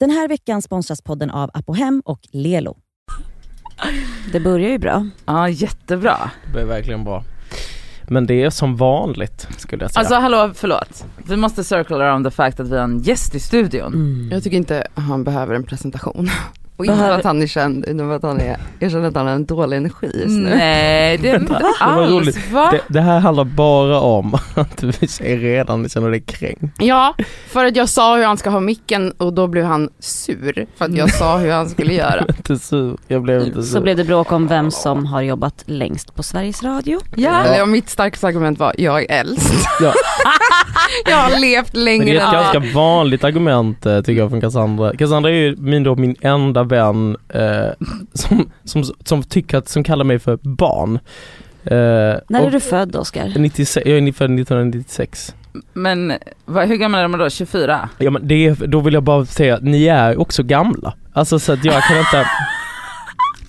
Den här veckan sponsras podden av Apohem och Lelo. Det börjar ju bra. Ja, jättebra. Det är verkligen bra. Men det är som vanligt skulle jag säga. Alltså hallå, förlåt. Vi måste circle around the fact att vi har en gäst i studion. Jag tycker inte han behöver en presentation. Och inte för att han är känd, utan för att han är, jag känner att han har en dålig energi just nu. Mm. Nej, det är inte vad alls. roligt. Va? det, det här handlar bara om att vi säger redan liksom, vi känner dig kränkt. Ja, för att jag sa hur han ska ha micken och då blev han sur för att jag sa hur han skulle göra. Inte sur. Jag blev inte sur. Så blev det bråk om vem som har jobbat längst på Sveriges Radio. Ja. Eller, mitt starkaste argument var, jag är äldst. Ja. Jag har levt Men längre det är ett än alla. ganska vanligt argument eh, tycker jag från Cassandra. Cassandra är ju min, då, min enda vän eh, som, som, som, tycker att, som kallar mig för barn. Eh, När är och du född Oskar? 96, jag är född 1996. Men va, hur gammal är man då? 24? Ja, men det, är- då vill jag bara säga att ni är också gamla. Alltså så att jag kan inte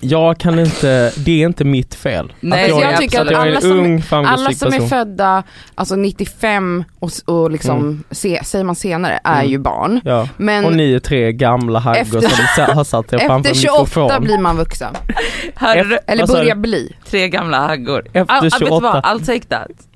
Jag kan inte, det är inte mitt fel. Nej, att jag, jag är- tycker att att jag är alla en som- ung Alla framgångsrik som är person. födda, alltså 95 och, s- och liksom, se, säger man senare, är Mm. ju barn. Ja. Men Och ni är tre gamla haggor Efter- som sa- har satt er framför efter en 28 mikrofon. blir man vuxen. Hörru du? Eller Vad sa du? börjar bli. Tre gamla haggor. Efter Ah, ah, vet du vad? 28. I'll take that.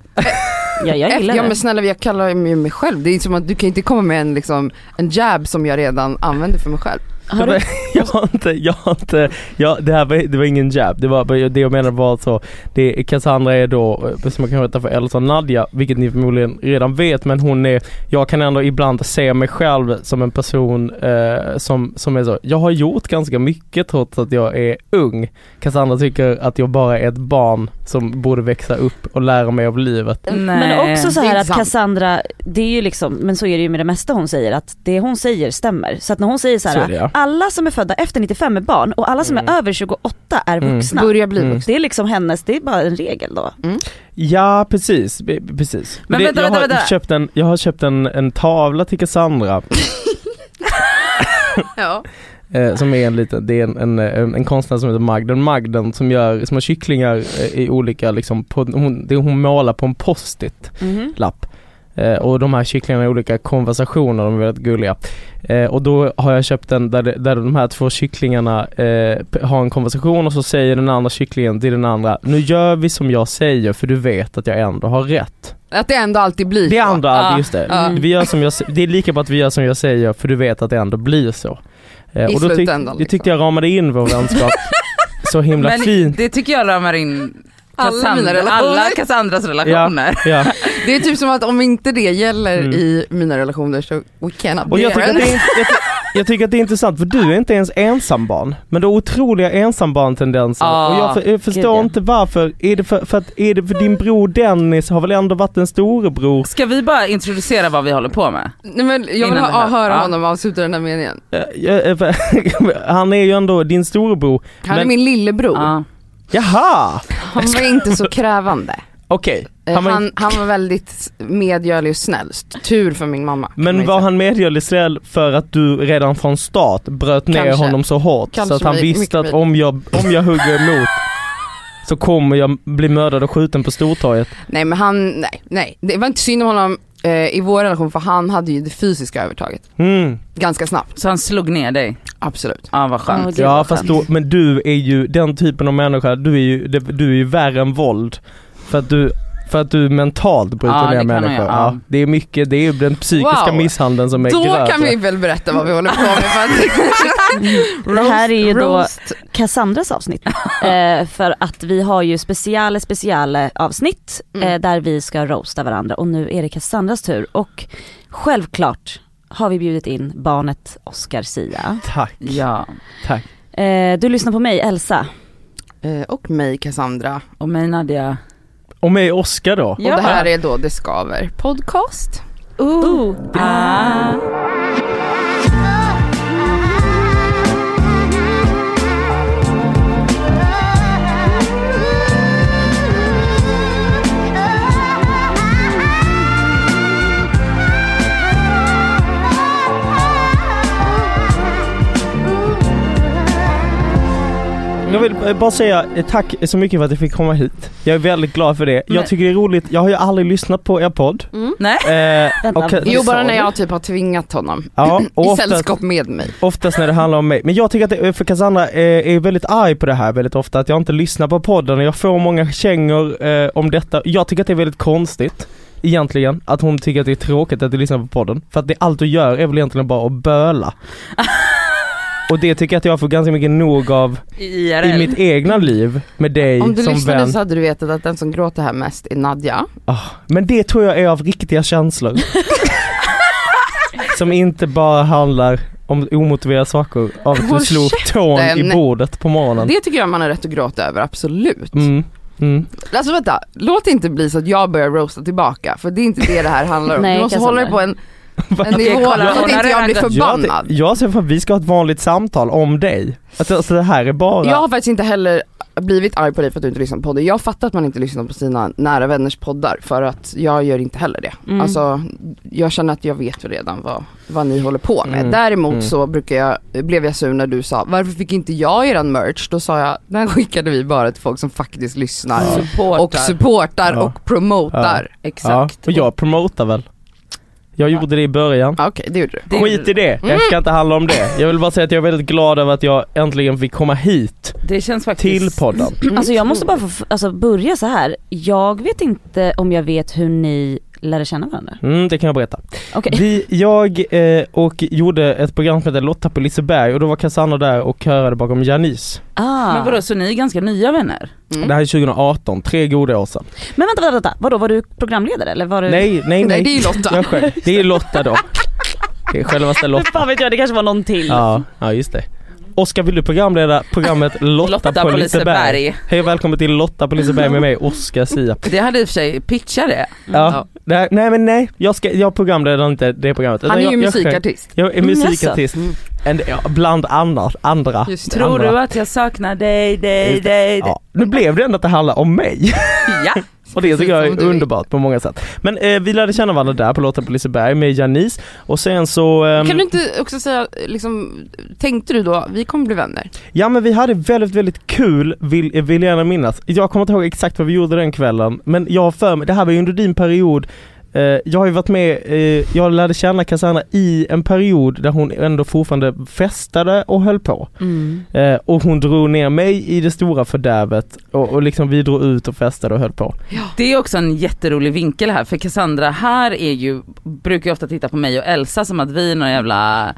Ja, jag Efter, gillar ja men det. snälla jag kallar ju mig själv, det är som att du kan inte komma med en, liksom, en jab som jag redan använder för mig själv. Har du, Jag har inte, jag har inte, jag, det här var, det var ingen jab. Det, var, bara- det jag menade var så, det, Cassandra är då, eh, som man kan heta för Elsa Nadja, vilket ni förmodligen redan vet, men hon är, jag kan ändå ibland se mig själv som en person eh, som, som är så, jag har gjort ganska mycket trots att jag är ung. Cassandra tycker att jag bara är ett barn som borde växa upp och lära mig av livet. men också så Det är här att inte sant. Cassandra, det är ju liksom, men så är det ju med det mesta hon säger att det hon säger stämmer. Så att när hon säger så Så är här, det, ja. alla som är födda efter 95 är barn och alla som är över 28 är Mm. vuxna. Börjar bli Mm. vuxen. Det är liksom hennes, det är bara en regel då. Ja precis, be- precis. Men det, vänta, jag, vänta, har vänta. Köpt en, jag har köpt en, en tavla till Cassandra Ja. Eh, som är en liten, det är en, en, en, en konstnär som heter Magden Magden som gör, som har kycklingar eh, i olika liksom, på, hon, det hon målar på en post-it lapp. Eh, och de här kycklingarna i olika konversationer, de är väldigt gulliga. Eh, och då har jag köpt en där, det, där de här två kycklingarna eh, p- har en konversation och så säger den andra kycklingen till den andra, nu gör vi som jag säger för du vet att jag ändå har rätt. Att det ändå alltid blir Det så. andra, Ja, just det. ja. Vi gör som jag, s- det är lika bra att vi gör som jag säger för du vet att det ändå blir så. Eh, I och då tyck- slutändan, Det tyckte liksom. jag ramade in vår vänskap så himla Men fint. det tycker jag ramar in Alla Cassandra, mina relationer. alla Cassandras relationer. Ja. Det är typ som att om inte det gäller Mm. i mina relationer så we cannot Och be jag tycker, att friends. det är, jag, ty- jag tycker att det är intressant för du är inte ens ensambarn. Men du har otroliga ensambarntendenser. Ah, och jag, för, jag förstår gud, ja. inte varför. Är det för, för att, är det för din bror Dennis har väl ändå varit en storebror? Ska vi bara introducera vad vi håller på med? Nej, men jag vill Innan det ha, här. höra Ja. honom avsluta den här meningen. Eh, eh, för- Han är ju ändå din storebror. Han är Men- min lillebror. Ja. Jaha! Han var inte så krävande. Okej. Eh, Han var- Han, han var väldigt medgörlig och snäll. Tur för min mamma. kan man Men ju var säga. han medgörlig snäll för att du redan från start bröt ner Kanske. honom så hårt så Kanske att han my- visste mycket att om jag, om jag hugger emot så kommer jag bli mördad och skjuten på Stortorget. Nej men han, nej, nej. Det var inte synd om honom eh, i vår relation för han hade ju det fysiska övertaget. Mm. Ganska snabbt. Så han slog ner dig? Absolut. Ja vad Åh, skönt. gud, Ja vad fast skönt. då, men du är ju den typen av människa, du är ju, det- du är ju värre än våld. För att du, för att du mentalt bryter Ja, det ner kan man människor. göra, ja. Ja, det är mycket, det är ju den psykiska Wow. misshandeln som är Då grövre. kan vi väl berätta vad vi håller på med. För att Det här är ju då- roast. Cassandras avsnitt. eh, för att vi har ju speciale speciale avsnitt eh, där vi ska roasta varandra och nu är det Cassandras tur och självklart har vi bjudit in barnet Oscar Sia. Tack, Ja. tack. Eh, du lyssnar på mig Elsa. Eh, och mig Cassandra. Och mig Nadia. Och med Oscar då. Och det här är då Det Skaver podcast. Ooh. Ah. Mm. jag vill eh, bara säga eh, tack så mycket för att jag fick komma hit. Jag är väldigt glad för det. Men- Jag tycker det är roligt, jag har ju aldrig lyssnat på er podd. Nej. Eh, Vänta, okej, Mm. Jo det sa bara när du. jag typ har tvingat honom. Ja, och I oftast, sällskap med mig. oftast när det handlar om mig. Men jag tycker att, det- för Cassandra eh, är väldigt arg på det här väldigt ofta, att jag inte lyssnar på podden och jag får många kängor eh, om detta. Jag tycker att det är väldigt konstigt, egentligen, att hon tycker att det är tråkigt att du lyssnar på podden. För att det allt du gör är väl egentligen bara att böla. Och det tycker jag att jag får ganska mycket nog av i mitt egna liv med dig Om du som lyssnade vän. så hade du vetat att den som gråter här mest är Nadja. Ah, men det tror jag är av riktiga känslor. som inte bara handlar om omotiverade saker av att du Håll slog tån i käften! bordet på morgonen. Det tycker jag man har rätt att gråta över, absolut. Mm, mm. Alltså vänta, låt det inte bli så att jag börjar roasta tillbaka för det är inte det det här handlar om. Nej, du måste Cassandra. hålla dig på en, en Okej, nivå kolla, så att hon inte har jag blir redan- Jag, förbannad. jag ser för att vi ska ha ett vanligt samtal om dig. Alltså, alltså det här är bara... Jag har faktiskt inte heller blivit arg på dig för att du inte lyssnar på poddar. Jag fattar att man inte lyssnar på sina nära vänners poddar för att jag gör inte heller det. Mm. Alltså jag känner att jag vet ju redan vad, vad ni håller på med. Mm. Däremot Mm. så brukar jag, blev jag sur när du sa varför fick inte jag eran merch? Då sa jag den skickade vi bara till folk som faktiskt lyssnar Supportar. och supportar Ja. och promotar. ja, Exakt. och jag promotar väl. Jag gjorde det i början. Ja. Okej det Mm. gjorde du. Det- Skit i det, jag ska inte handla om det. Jag vill bara säga att jag är väldigt glad över att jag äntligen fick komma hit Det känns faktiskt... till podden. Alltså jag måste bara få f- alltså, börja så här. jag vet inte om jag vet hur ni lärde känna varandra. Mm, det kan jag berätta. Okej. Vi, jag eh, och gjorde ett program som hette Lotta på Liseberg och då var Cassandra där och körade bakom Janice. Ah. Men vadå, så ni är ganska nya vänner? Mm. Det här är 2018, tre goda år sedan. Men vänta, vänta, vänta. Vadå, var du programledare eller var du? Nej, nej, Nej nej. det är ju Lotta. jag själv. Det är Lotta då. Det är självaste Lotta. Fan vet jag, det kanske var någon till. Ja, ja just det. Oskar, vill du programleda programmet Lotta, på, Liseberg? Hej och välkommen till Lotta på Liseberg med mig, Oskar Sia. Det hade i och för sig, pitcha det. Ja, nej, nej men nej, jag, ska, jag programleder inte det programmet. Han utan är ju jag, jag själv- musikartist. Jag är Mm, jaså. musikartist, And, ja, bland annat, andra. Just det. Tror Andra. du att jag saknar dig, dig, Just det. dig, dig? Ja, nu blev det ändå att det handlar om mig Ja. och det tycker jag Precis som är du vill. underbart på många sätt. Men eh, vi lärde känna varandra där på Låten på Liseberg med Janice och sen så... ehm, Kan du inte också säga, liksom, tänkte du då, vi kommer bli vänner? Ja men vi hade väldigt, väldigt kul, vill, eh, vill jag gärna minnas. Jag kommer inte ihåg exakt vad vi gjorde den kvällen, men jag har för mig, det här var ju under din period eh, jag har ju varit med, eh, jag lärde känna Cassandra i en period där hon ändå fortfarande festade och höll på. Mm. Eh, och hon drog ner mig i det stora fördärvet och, och liksom vi drog ut och festade och höll på. Det är också en jätterolig vinkel här för Cassandra här är ju, brukar ju ofta titta på mig och Elsa som att vi är några jävla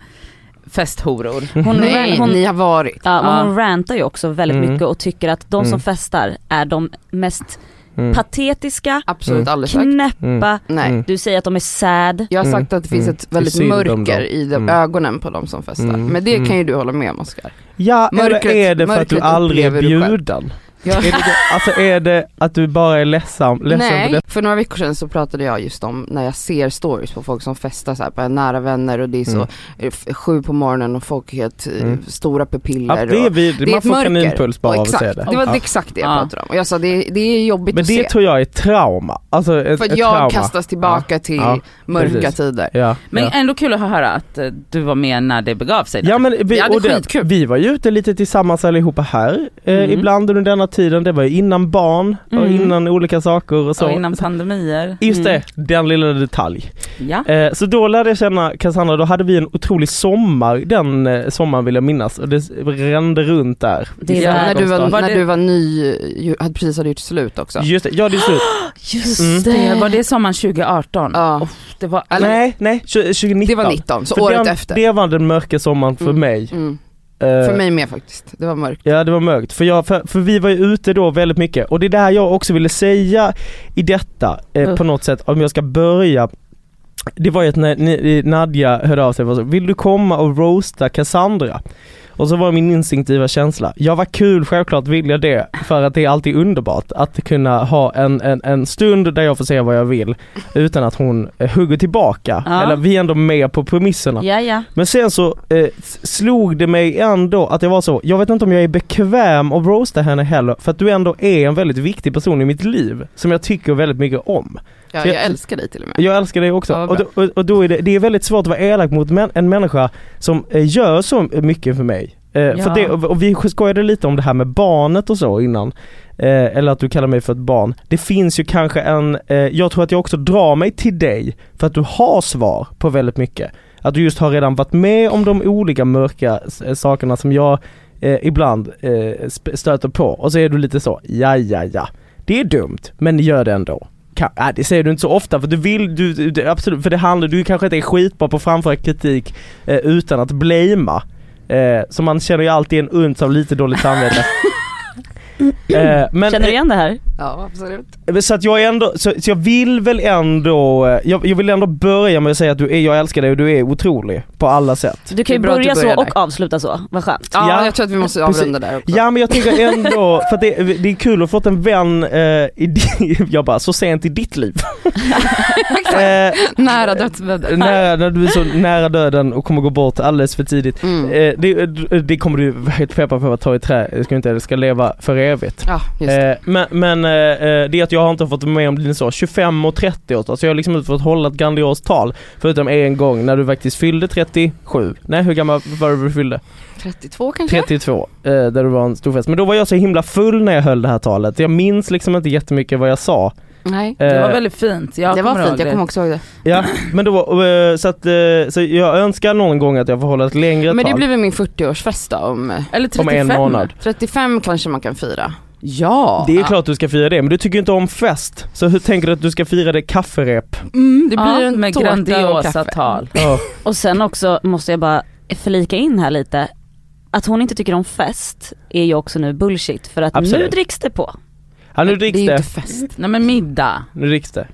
festhoror. Hon, Nej, hon, ni har varit. ja, men Ja. hon rantar ju också väldigt Mm. mycket och tycker att de som Mm. festar är de mest Mm. patetiska, Absolut Mm. alldeles säkert. knäppa, Mm. Nej. Mm. du säger att de är sad. Jag har Mm, sagt att det finns mm. ett Det är väldigt synd om dem. mörker i de, Mm. ögonen på de som festar. Mm, Men det mm. kan ju du hålla med om Oskar. Ja, Mörkret- eller är det för att du mörkret aldrig är upplever du själv. bjuden? Ja. Är det, det- alltså är det att du bara är ledsam, ledsen för Nej, det? för några veckor sedan så pratade jag just om när jag ser stories på folk som festar så här på en nära vänner och det är så Mm. eh, f- sju på morgonen och folk är helt eh, Mm. stora pupiller. Ja, det är och, vid, det är man ett får mörker. kaninpuls bara och av att se exakt, det. det var Ja. exakt det jag Ja. pratade om. Och jag sa det, det är jobbigt Men att det se. tror jag är trauma, alltså ett, För att ett jag trauma. kastas tillbaka till Ja, mörka precis. tider. Ja, Men ja. ändå kul att höra att eh, du var med när det begav sig. där. Ja men vi, Ja, det är och det, skitkul. vi var ju ute lite tillsammans allihopa här eh, Mm. ibland under denna tiden, det var ju innan barn och Mm. innan olika saker och så. och innan pandemier. Just Mm. det, den lilla detalj. Ja. Eh, så då lärde jag känna Cassandra, då hade vi en otrolig sommar, den eh, sommaren vill jag minnas och det s- rände runt där. Det är Ja, när där. du var, Var när det- du var ny, ju- hade precis hade gjort slut också. Just det, ja det är slut. Just Mm. Det var det sommaren 2018? Ja. Oh, det var Eller- nej, nej, tjo- 2019. Det var 19, så För året den, efter. Det var den mörka sommaren för Mm. mig. Mm. Eh, För mig med faktiskt, det var mörkt. Ja det var mörkt, för, jag, för, för vi var ju ute då väldigt mycket och det är det här jag också ville säga i detta eh, Mm. på något sätt om jag ska börja Det var ju att när, ni- Nadja hörde av sig och var så, vill du komma och roasta Cassandra? Och så var min instinktiva känsla, jag var kul självklart vill jag det för att det är alltid underbart att kunna ha en, en, en stund där jag får säga vad jag vill utan att hon eh, hugger tillbaka. Ja. Eller vi är ändå med på premisserna. Ja, ja. Men sen så eh, s- slog det mig ändå att jag var så, jag vet inte om jag är bekväm att roasta henne heller för att du ändå är en väldigt viktig person i mitt liv som jag tycker väldigt mycket om. Ja, För jag- jag älskar dig till och med. Jag älskar dig också. Ja, vad och, då, och, och då är det, det är väldigt svårt att vara elak mot män, en människa som eh, gör så mycket för mig. Eh, Ja. för det, och och vi skojade lite om det här med barnet och så innan. Eh, eller att du kallar mig för ett barn. Det finns ju kanske en, eh, jag tror att jag också drar mig till dig för att du har svar på väldigt mycket. Att du just har redan varit med om de olika mörka s- sakerna som jag eh, ibland eh, sp- stöter på och så är du lite så, ja ja ja. Det är dumt, men gör det ändå. Ka- äh, det säger du inte så ofta för du vill, du, du- du, absolut, för det handlar, du kanske inte är skitbra på att framföra kritik eh, utan att blamea. Eh, så man känner ju alltid en uns av lite dåligt samvete. Eh, men, Känner du igen det här? Ja absolut. eh, Så att jag är ändå, så, så jag vill väl ändå, eh, jag, jag vill ändå börja med att säga att du är, jag älskar dig och du är otrolig på alla sätt. Du Det kan är ju bra att du börja så börjar och där. avsluta så, vad skönt. Ja, Ja, jag tror att vi måste precis. avrunda där också. Ja men jag tycker ändå, för att det, det är kul att fått en vän eh, i din, jag bara, så sent i ditt liv. eh, Nära dödsbädden. nära, när du är så nära döden och kommer gå bort alldeles för tidigt. Mm. Eh, det, det kommer du vara helt peppad för att ta i trä, jag ska inte, det ska leva för evigt. Ja just det. Eh, men men eh, eh, det är att jag har inte fått med om din så 25 och 30 års så jag har liksom inte fått hålla ett grandiost tal. Förutom en gång när du faktiskt fyllde 37, nej hur gammal var du när du fyllde? 32 kanske? 32, eh, där det var en stor fest. Men då var jag så himla full när jag höll det här talet. Jag minns liksom inte jättemycket vad jag sa. Nej. Eh, Det var väldigt fint. Jag det var kommer fint, ihåg jag det. kommer också ihåg det. Ja, men då, eh, så att, eh, så jag önskar någon gång att jag får hålla ett längre Men det tal. blir väl min 40-årsfest då om eh, Eller 35. Om en månad. 35 kanske man kan fira. Ja. Det är klart du ska fira det, men du tycker ju inte om fest. Så hur tänker du att du ska fira det kafferep? Mm, det blir ja, en med tårta och grandiosa kaffe. tal. Ja. Och sen också måste jag bara flika in här lite. Att hon inte tycker om fest är ju också nu bullshit för att nu Absolut. dricks det på. Ja, nu Det är dricks ju det. inte fest. Nej men middag. Nu dricks det.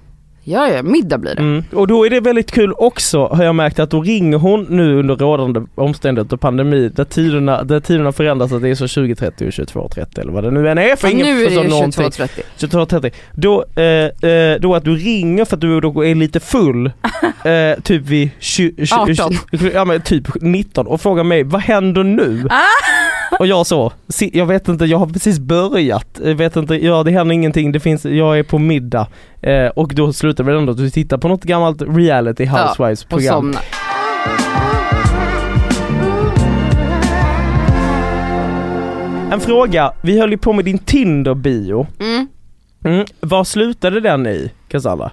Ja, ja, middag blir det. Mm. Och då är det väldigt kul också har jag märkt att då ringer hon nu under rådande omständigheter och pandemi där tiderna, där tiderna förändras att det är så 20.30 och 22.30 eller vad det nu än är för Ja, ingen typ nu är det förstår ju någonting. 22.30. 22.30. Då, eh, eh, då att du ringer för att du då är lite full, eh, typ vid 20, 18. ja, men typ 19 och frågar mig vad händer nu? Ah! och jag så, "Si- jag vet inte, jag har precis börjat, jag vet inte, ja det händer ingenting, det finns, jag är på middag. Eh, och då slutar det ändå att du tittar på något gammalt reality Ja, housewives Och program. somna. en fråga, vi höll ju på med din Tinder bio, Mm. mm. vad slutade den i Cassandra?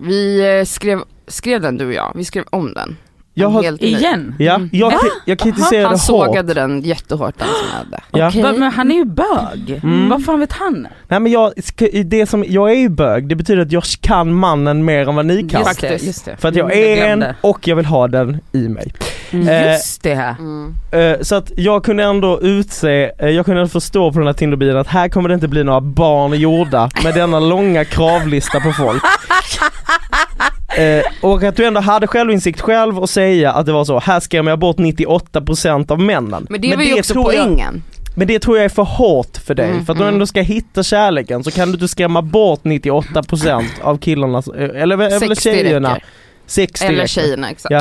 Vi eh, skrev, skrev den du och jag, vi skrev om den. Jag En har- helt ny. Igen. Ja, jag, jag kritiserade Mm. Han hårt. sågade den jättehårt den som hade. Ja. Okej. Va, men han är ju bög. Mm. Vad fan vet han? Nej men jag, ska- det som, jag är ju bög, det betyder att jag kan mannen mer än vad ni kan. Just det, Faktiskt. just det. För att jag Jag är en glömde. och jag vill ha den i mig. Mm. Eh, Just det. Mm. Eh, så att jag kunde ändå utse, eh, jag kunde ändå förstå på den här Tinderbilen att här kommer det inte bli några barn gjorda med denna långa kravlista på folk. Eh, och att du ändå hade självinsikt själv och säga att det var så, här skrämmer jag bort 98% av männen. Men det var ju också tror jag- poängen. Men det tror jag är för hårt för dig. Mm, för att om du mm. ändå ska hitta kärleken så kan du inte skrämma bort 98% av killarna, eh, eller, eller 60 tjejerna. räcker. 60 Eller räcker. tjejerna exakt. Ja,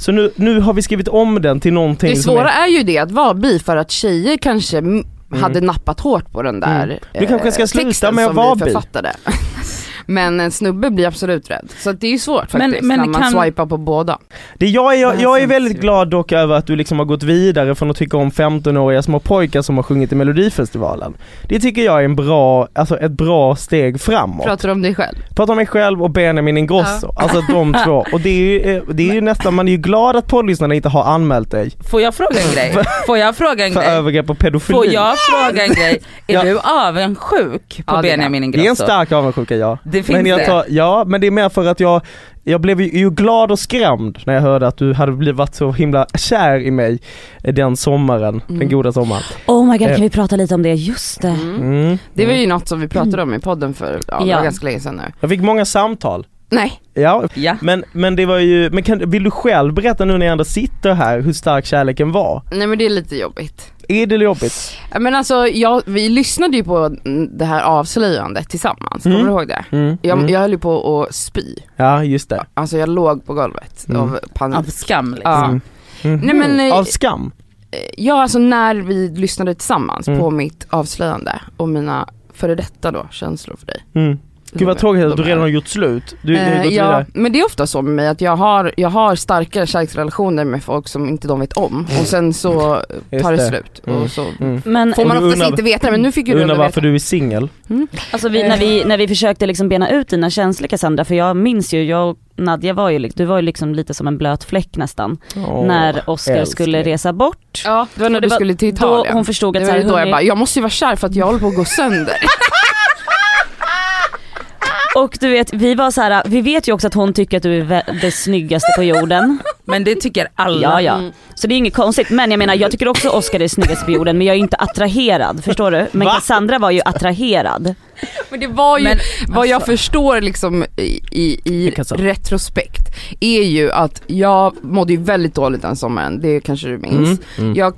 Så nu, nu har vi skrivit om den till någonting Det som svåra är ju det att vara bi för att tjejer kanske m- hade nappat hårt på den där Mm. Du kanske ska eh, sluta texten med att som vara vi bi. författade. Men en snubbe blir absolut rädd. Så att det är ju svårt Men- faktiskt men när man kan- swipar på båda. Det jag, är- jag, Det här jag är känns väldigt ju- glad dock över att du liksom har gått vidare från att tycka om 15-åriga små pojkar som har sjungit i melodifestivalen. Det tycker jag är en bra, alltså ett bra steg framåt. Pratar du om dig själv? Prata om mig själv och Benjamin Ingrosso, alltså de två. Och det är ju, eh, det är ju nästan, man är ju glad att poddlyssnarna inte har anmält dig Får jag fråga en grej? Får jag fråga en för grej? övergrepp och pedofili. Får jag fråga en grej? Är Ja. du avundsjuk på Ja, det är Benjamin Ingrosso? Det är en stark avundsjuka ja. Det finns Men jag det. tar, ja men det är mer för att jag, jag blev ju ju glad och skrämd när jag hörde att du hade blivit varit så himla kär i mig eh, den sommaren, Mm. den goda sommaren. Oh my god, Eh. kan vi prata lite om det? Just det. Mm. Det var ju något som vi pratade om i podden för ja, det Ja. var ganska länge sedan nu. Jag fick många samtal. Nej, Ja, Ja. men, men det var ju, men kan, vill du själv berätta nu när jag ändå sitter här hur stark kärleken var? nej men det är lite jobbigt. Är det jobbigt? Ja, Men alltså jag, vi lyssnade ju på mm, det här avslöjandet tillsammans, kommer Mm. du ihåg det? Mm. Jag, Mm. jag höll ju på att spy, Ja just det. alltså jag låg på golvet Mm. av Av panik. skam liksom. Ja. Mm. Mhm. Ah. Nej, men, eh, Av skam? Eh, Ja, alltså när vi lyssnade tillsammans Mm. på mitt avslöjande och mina före detta då känslor för dig. Mm. Gud vad tråkigt att du de är. redan har gjort slut. Du, det har Eh, gått ja, vidare. men det är ofta så med mig att jag har, jag har starkare kärleksrelationer med folk som inte de vet om och sen så Just tar det, det. slut Mm. och så Mm. Men får man Och du oftast undrar- inte veta det men nu fick ju Jag du undrar ändå varför veta. du är singel. Alltså vi, när, vi, när vi försökte liksom bena ut dina känslor Cassandra, för jag minns ju, jag och Nadja var ju, li- du var ju liksom lite som en blöt fläck nästan. Åh, när Oskar älskling. skulle resa bort. Ja, det var när Och det du var skulle Då till Italien. hon förstod det att var så här, ju då jag hörni, bara, jag måste ju vara kär för att jag håller på att gå sönder. och du vet vi var så här, vi vet ju också att hon tycker att du är vä- det snyggaste på jorden. Men det tycker alla. Ja ja. Så det är inget konstigt men jag menar jag tycker också Oskar är snyggast på jorden men jag är inte attraherad förstår du? Men Cassandra var ju attraherad. Men det var ju, Men, vad jag alltså- förstår liksom i, i, i Jag kan säga. retrospekt är ju att jag mådde ju väldigt dåligt den sommaren, det kanske du minns. Mm. Mm. Jag,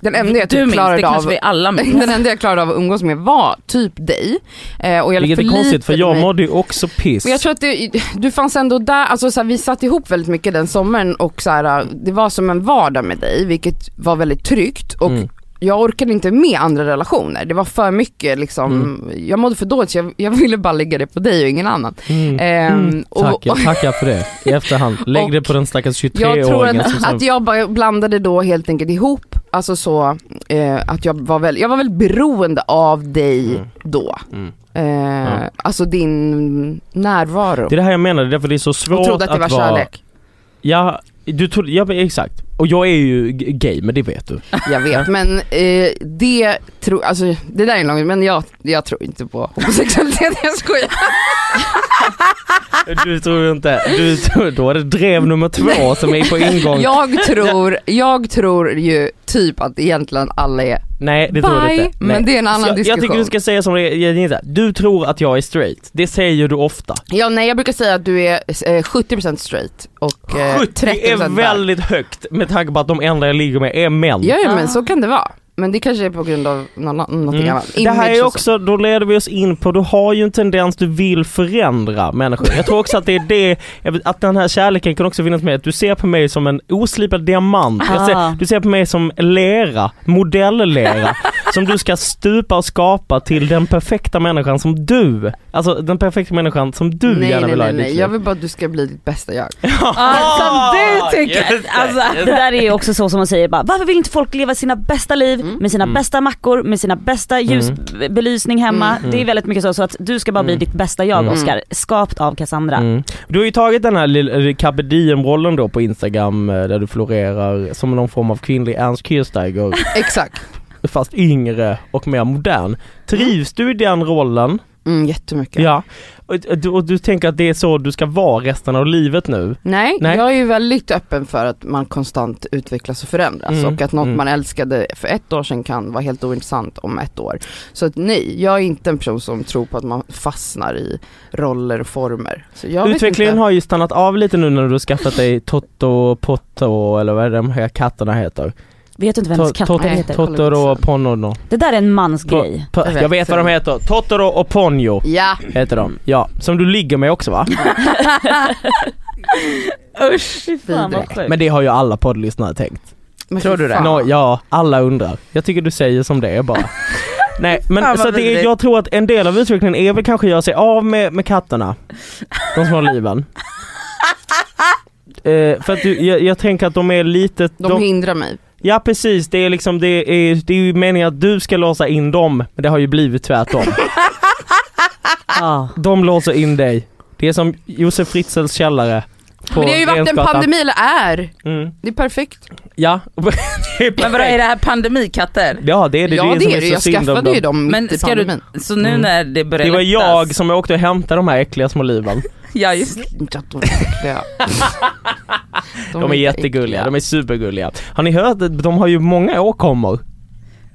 den enda du jag typ minns, det klarade kanske av vi alla minns. den enda jag klarade av att umgås med var typ dig. Eh, och jag Vilket är förlitade konstigt för jag mig- mådde ju också piss. Men jag tror att det, du fanns ändå där, alltså så här, vi satt ihop väldigt mycket den sommaren och så här, det var som en vardag med dig vilket var väldigt tryggt och Mm. jag orkade inte med andra relationer. Det var för mycket liksom, jag mådde för dåligt så jag, jag ville bara lägga det på dig och ingen annan. Mm. Ehm, och- Tack, jag tackar för det i efterhand. Lägg Och det på den stackars Jag tror 23-åringen som att, sa att jag bara blandade då helt enkelt ihop, alltså så, eh, att jag var, väl, jag var väldigt beroende av dig Mm. då. Mm. Eh, Ja. Alltså din närvaro. Det är det här jag menar, det är därför det är så Jag svårt trodde att det var vara... kärlek. Ja, du trodde, ja men exakt. Och jag är ju g- gay, men det vet du. Jag vet men eh, det tror, alltså det där är en lång men jag, jag tror inte på homosexualitet, jag skojar. Du tror ju inte, du tror, då är det drev nummer två som är på ingång. Jag tror, jag tror ju typ att egentligen alla är Nej det tror du bi, inte. Nej. men det är en annan jag, jag diskussion. tycker du ska säga som det är, Jenita. du tror att jag är straight. Det säger du ofta. Ja nej jag brukar säga att du är eh, 70% straight och eh, 70 30% är bög. väldigt högt med tanke på att de enda jag ligger med är män. Ja, ja men så kan det vara. Men det kanske är på grund av någon, annan- någonting Mm. annat. Det här Image är och så. också, då leder vi oss in på, du har ju en tendens, du vill förändra människor. Jag tror också att det är det, jag vet, att den här kärleken kan också finnas med, att du ser på mig som en oslipad diamant. Jag Ah. ser, du ser på mig som lera, modelllera, som du ska stupa och skapa till den perfekta människan som du, alltså den perfekta människan som du nej, gärna nej, vill ha nej, i ditt nej. liv. Jag vill bara att du ska bli ditt bästa jag. Som du tycker! Ah, Just det, alltså, det där är ju också så som man säger bara, varför vill inte folk leva sina bästa liv Mm. med sina bästa mackor, med sina bästa ljusbelysning hemma. Mm. Det är väldigt mycket så, så att du ska bara bli ditt bästa jag Oskar, skapt av Cassandra. Mm. Du har ju tagit den här lilla eh, Carpe Diem-rollen då på Instagram eh, där du florerar som någon form av kvinnlig Ernst Kirchsteiger Exakt. fast yngre och mer modern. Trivs du i den rollen? Mm, jättemycket. Ja. Och, och du, och du tänker att det är så du ska vara resten av livet nu? Nej, Nej. jag är ju väldigt öppen för att man konstant utvecklas och förändras Mm, och att något mm. man älskade för ett år sedan kan vara helt ointressant om ett år. Så att nej, jag är inte en person som tror på att man fastnar i roller och former. Så jag vet Utvecklingen inte. har ju stannat av lite nu när du har skaffat dig Toto och Potto eller vad är det de här katterna heter? Vet du inte vems To- katt to- det heter? kolla Totoro inte och Ponno. Det där är en mans grej. Po- Jag vet. Jag vet vad de heter, Totoro och Ponyo Ja, heter de. Ja, som du ligger med också va? Usch, fy fan vad vidrigt. sjukt. Men det har ju alla poddlyssnare tänkt. men Tror du fy det? fan. Nå, ja, alla undrar. Jag tycker du säger som det är bara. Nej men vad så att det är, vidrigt. jag tror att en del av utvecklingen är väl kanske att göra sig av med, med katterna. De små liven. Eh, för att du, jag, jag tänker att de är lite, De, de, hindrar mig. ja precis det är liksom det är, det är ju meningen att du ska låsa in dem men det har ju blivit tvärtom. Ja. De låser in dig. Det är som Josef Fritzels källare. På Men det har ju varit en Rensgatan. pandemi, eller är. Mm. Det är perfekt. Ja. Det är Men vadå är perfekt. det här pandemikatter? Ja det är det, ja det, det som är det, så jag synd om skaffade dem. ju dem mitt Men i ska du, pandemin. så nu Mm. när det börjar Det var lättas- jag som åkte och hämtade de här äckliga små liven. Ja just det. Inte att de är äckliga. De är jättegulliga, de är supergulliga. Har ni hört att de har ju många åkommor?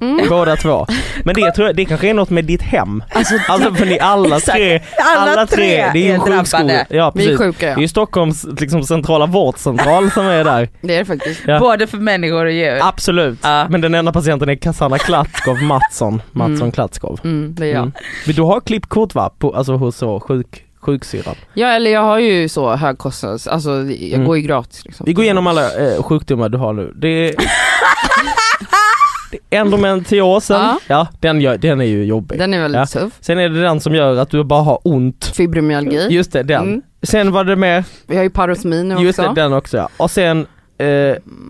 Mm. Båda två. Men det tror jag, det kanske är något med ditt hem. Alltså, för ni alla Exakt. tre, Alla alla, tre, tre det är ju en är drabbade. sjukskola. Ja Vi precis. är sjuka Det är ja. ju Stockholms liksom, centrala vårdcentral som är där. Det är det faktiskt. Ja. Både för människor och djur. Absolut. Ja. Men den enda patienten är Cassandra Klatskov Mattsson. Mattsson Mm. Klatskov. Mm, det är jag. Mm. Men du har klippkort va? På, alltså hos så, sjuk, sjuksyrran. Ja eller jag har ju så hög kostnads, alltså jag Mm. går ju gratis liksom. Vi går igenom alla eh, sjukdomar du har nu. Det är, det endometriosen, Ja. ja. den, gör, den är ju jobbig. Den är väldigt Ja. tuff. Sen är det den som gör att du bara har ont. Fibromyalgi. Just det, den. Mm. Sen var det mer, Vi har ju parosmi nu just också. det, den också ja. Och sen eh,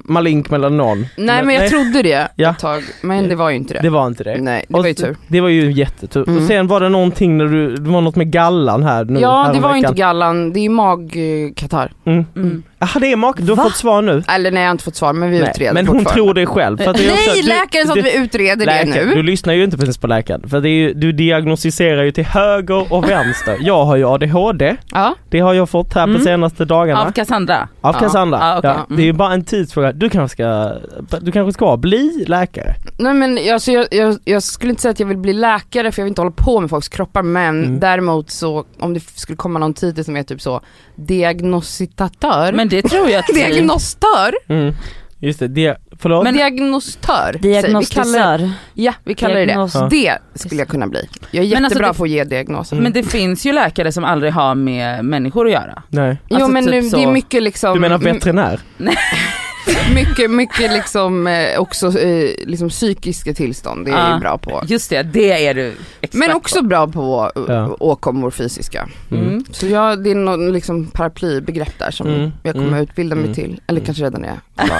malink melanom. Nej men jag trodde det Ja. ett tag, men det var ju inte det. Det var inte det. Nej, det Och var ju s- tur. Det var ju jättetur. Mm. Och sen var det någonting när du, det var något med gallan här nu Ja, det var ju häromveckan. inte gallan, det är ju magkatarr. Mm. Mm. Jaha det är mak, du har Va? fått svar nu? Eller nej jag har inte fått svar men vi utreder men hon fortfarande. tror det själv. För att det är också- Nej du- läkaren sa du- att vi utreder det läkaren, nu. Du lyssnar ju inte precis på läkaren. För det är ju, du diagnostiserar ju till höger och vänster. Jag har ju ADHD, Ja. det har jag fått här på Mm. senaste dagarna. Av Cassandra. Av Ja. Cassandra. Ja, okej. ja, det är ju bara en tidsfråga. Du kanske ska, du kanske ska bli läkare? Nej men alltså, jag, jag, jag skulle inte säga att jag vill bli läkare för jag vill inte hålla på med folks kroppar men Mm. däremot så om det skulle komma någon titel som är typ så diagnostitatör. Men det tror jag att vi... Diagnostör? Mm. Just det, det förlåt? Men diagnostör? säger vi. Vi kallar, Diagnostisör. ja, vi kallar det det. Diagnos- Ja. Det skulle jag kunna bli. Jag är Men alltså jättebra det- på att ge diagnoser. Mm. Men det finns ju läkare som aldrig har med människor att göra. Nej. jo alltså men typ nu, det är så- mycket liksom, Du menar m- veterinär? mycket, mycket liksom eh, också eh, liksom psykiska tillstånd, det är jag Ja. ju bra på. Just det, det är du expert Men också på. bra på eh, Ja. åkommor fysiska. Mm. Mm. Så jag, det är någon liksom paraplybegrepp där som Mm, jag kommer mm, utbilda mig mm, till, eller mm. kanske redan är.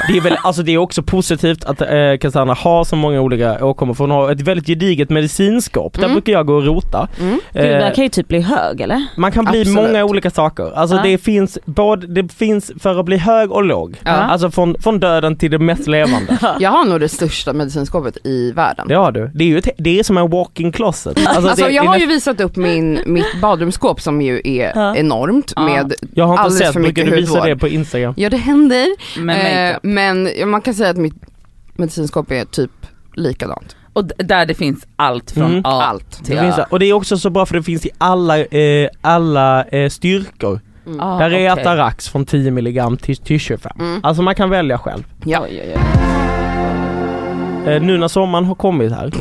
Det är väl, alltså det är också positivt att eh, Cassandra har så många olika åkommor för hon har ett väldigt gediget medicinskåp. Där Mm. brukar jag gå och rota. Mm. Gud, det Eh, där kan ju typ bli hög eller? Man kan bli Absolut. många olika saker. Alltså Ja. det finns både, det finns för att bli hög och låg. Ja. Alltså från, från döden till det mest levande. Jag har nog det största medicinskåpet i världen. Det har du. Det är ju ett, det är som en walk-in closet. Alltså, Alltså det, jag det är har nä- ju visat upp min, mitt badrumsskåp som ju är Ja. enormt Ja. med, jag har inte alldeles sett, för brukar mycket du visa hudvård. det på instagram? ja det händer, Med eh, men ja, man kan säga att mitt medicinskåp är typ likadant. Och d- där det finns allt från Mm. A Allt. till Det finns, Ö. och det är också så bra för det finns i alla, eh, alla eh, styrkor. Mm. Ah, Där är okej. Atarax från 10 mg till, till 25. Mm. Alltså man kan välja själv. Ja. Eh, nu när sommaren har kommit här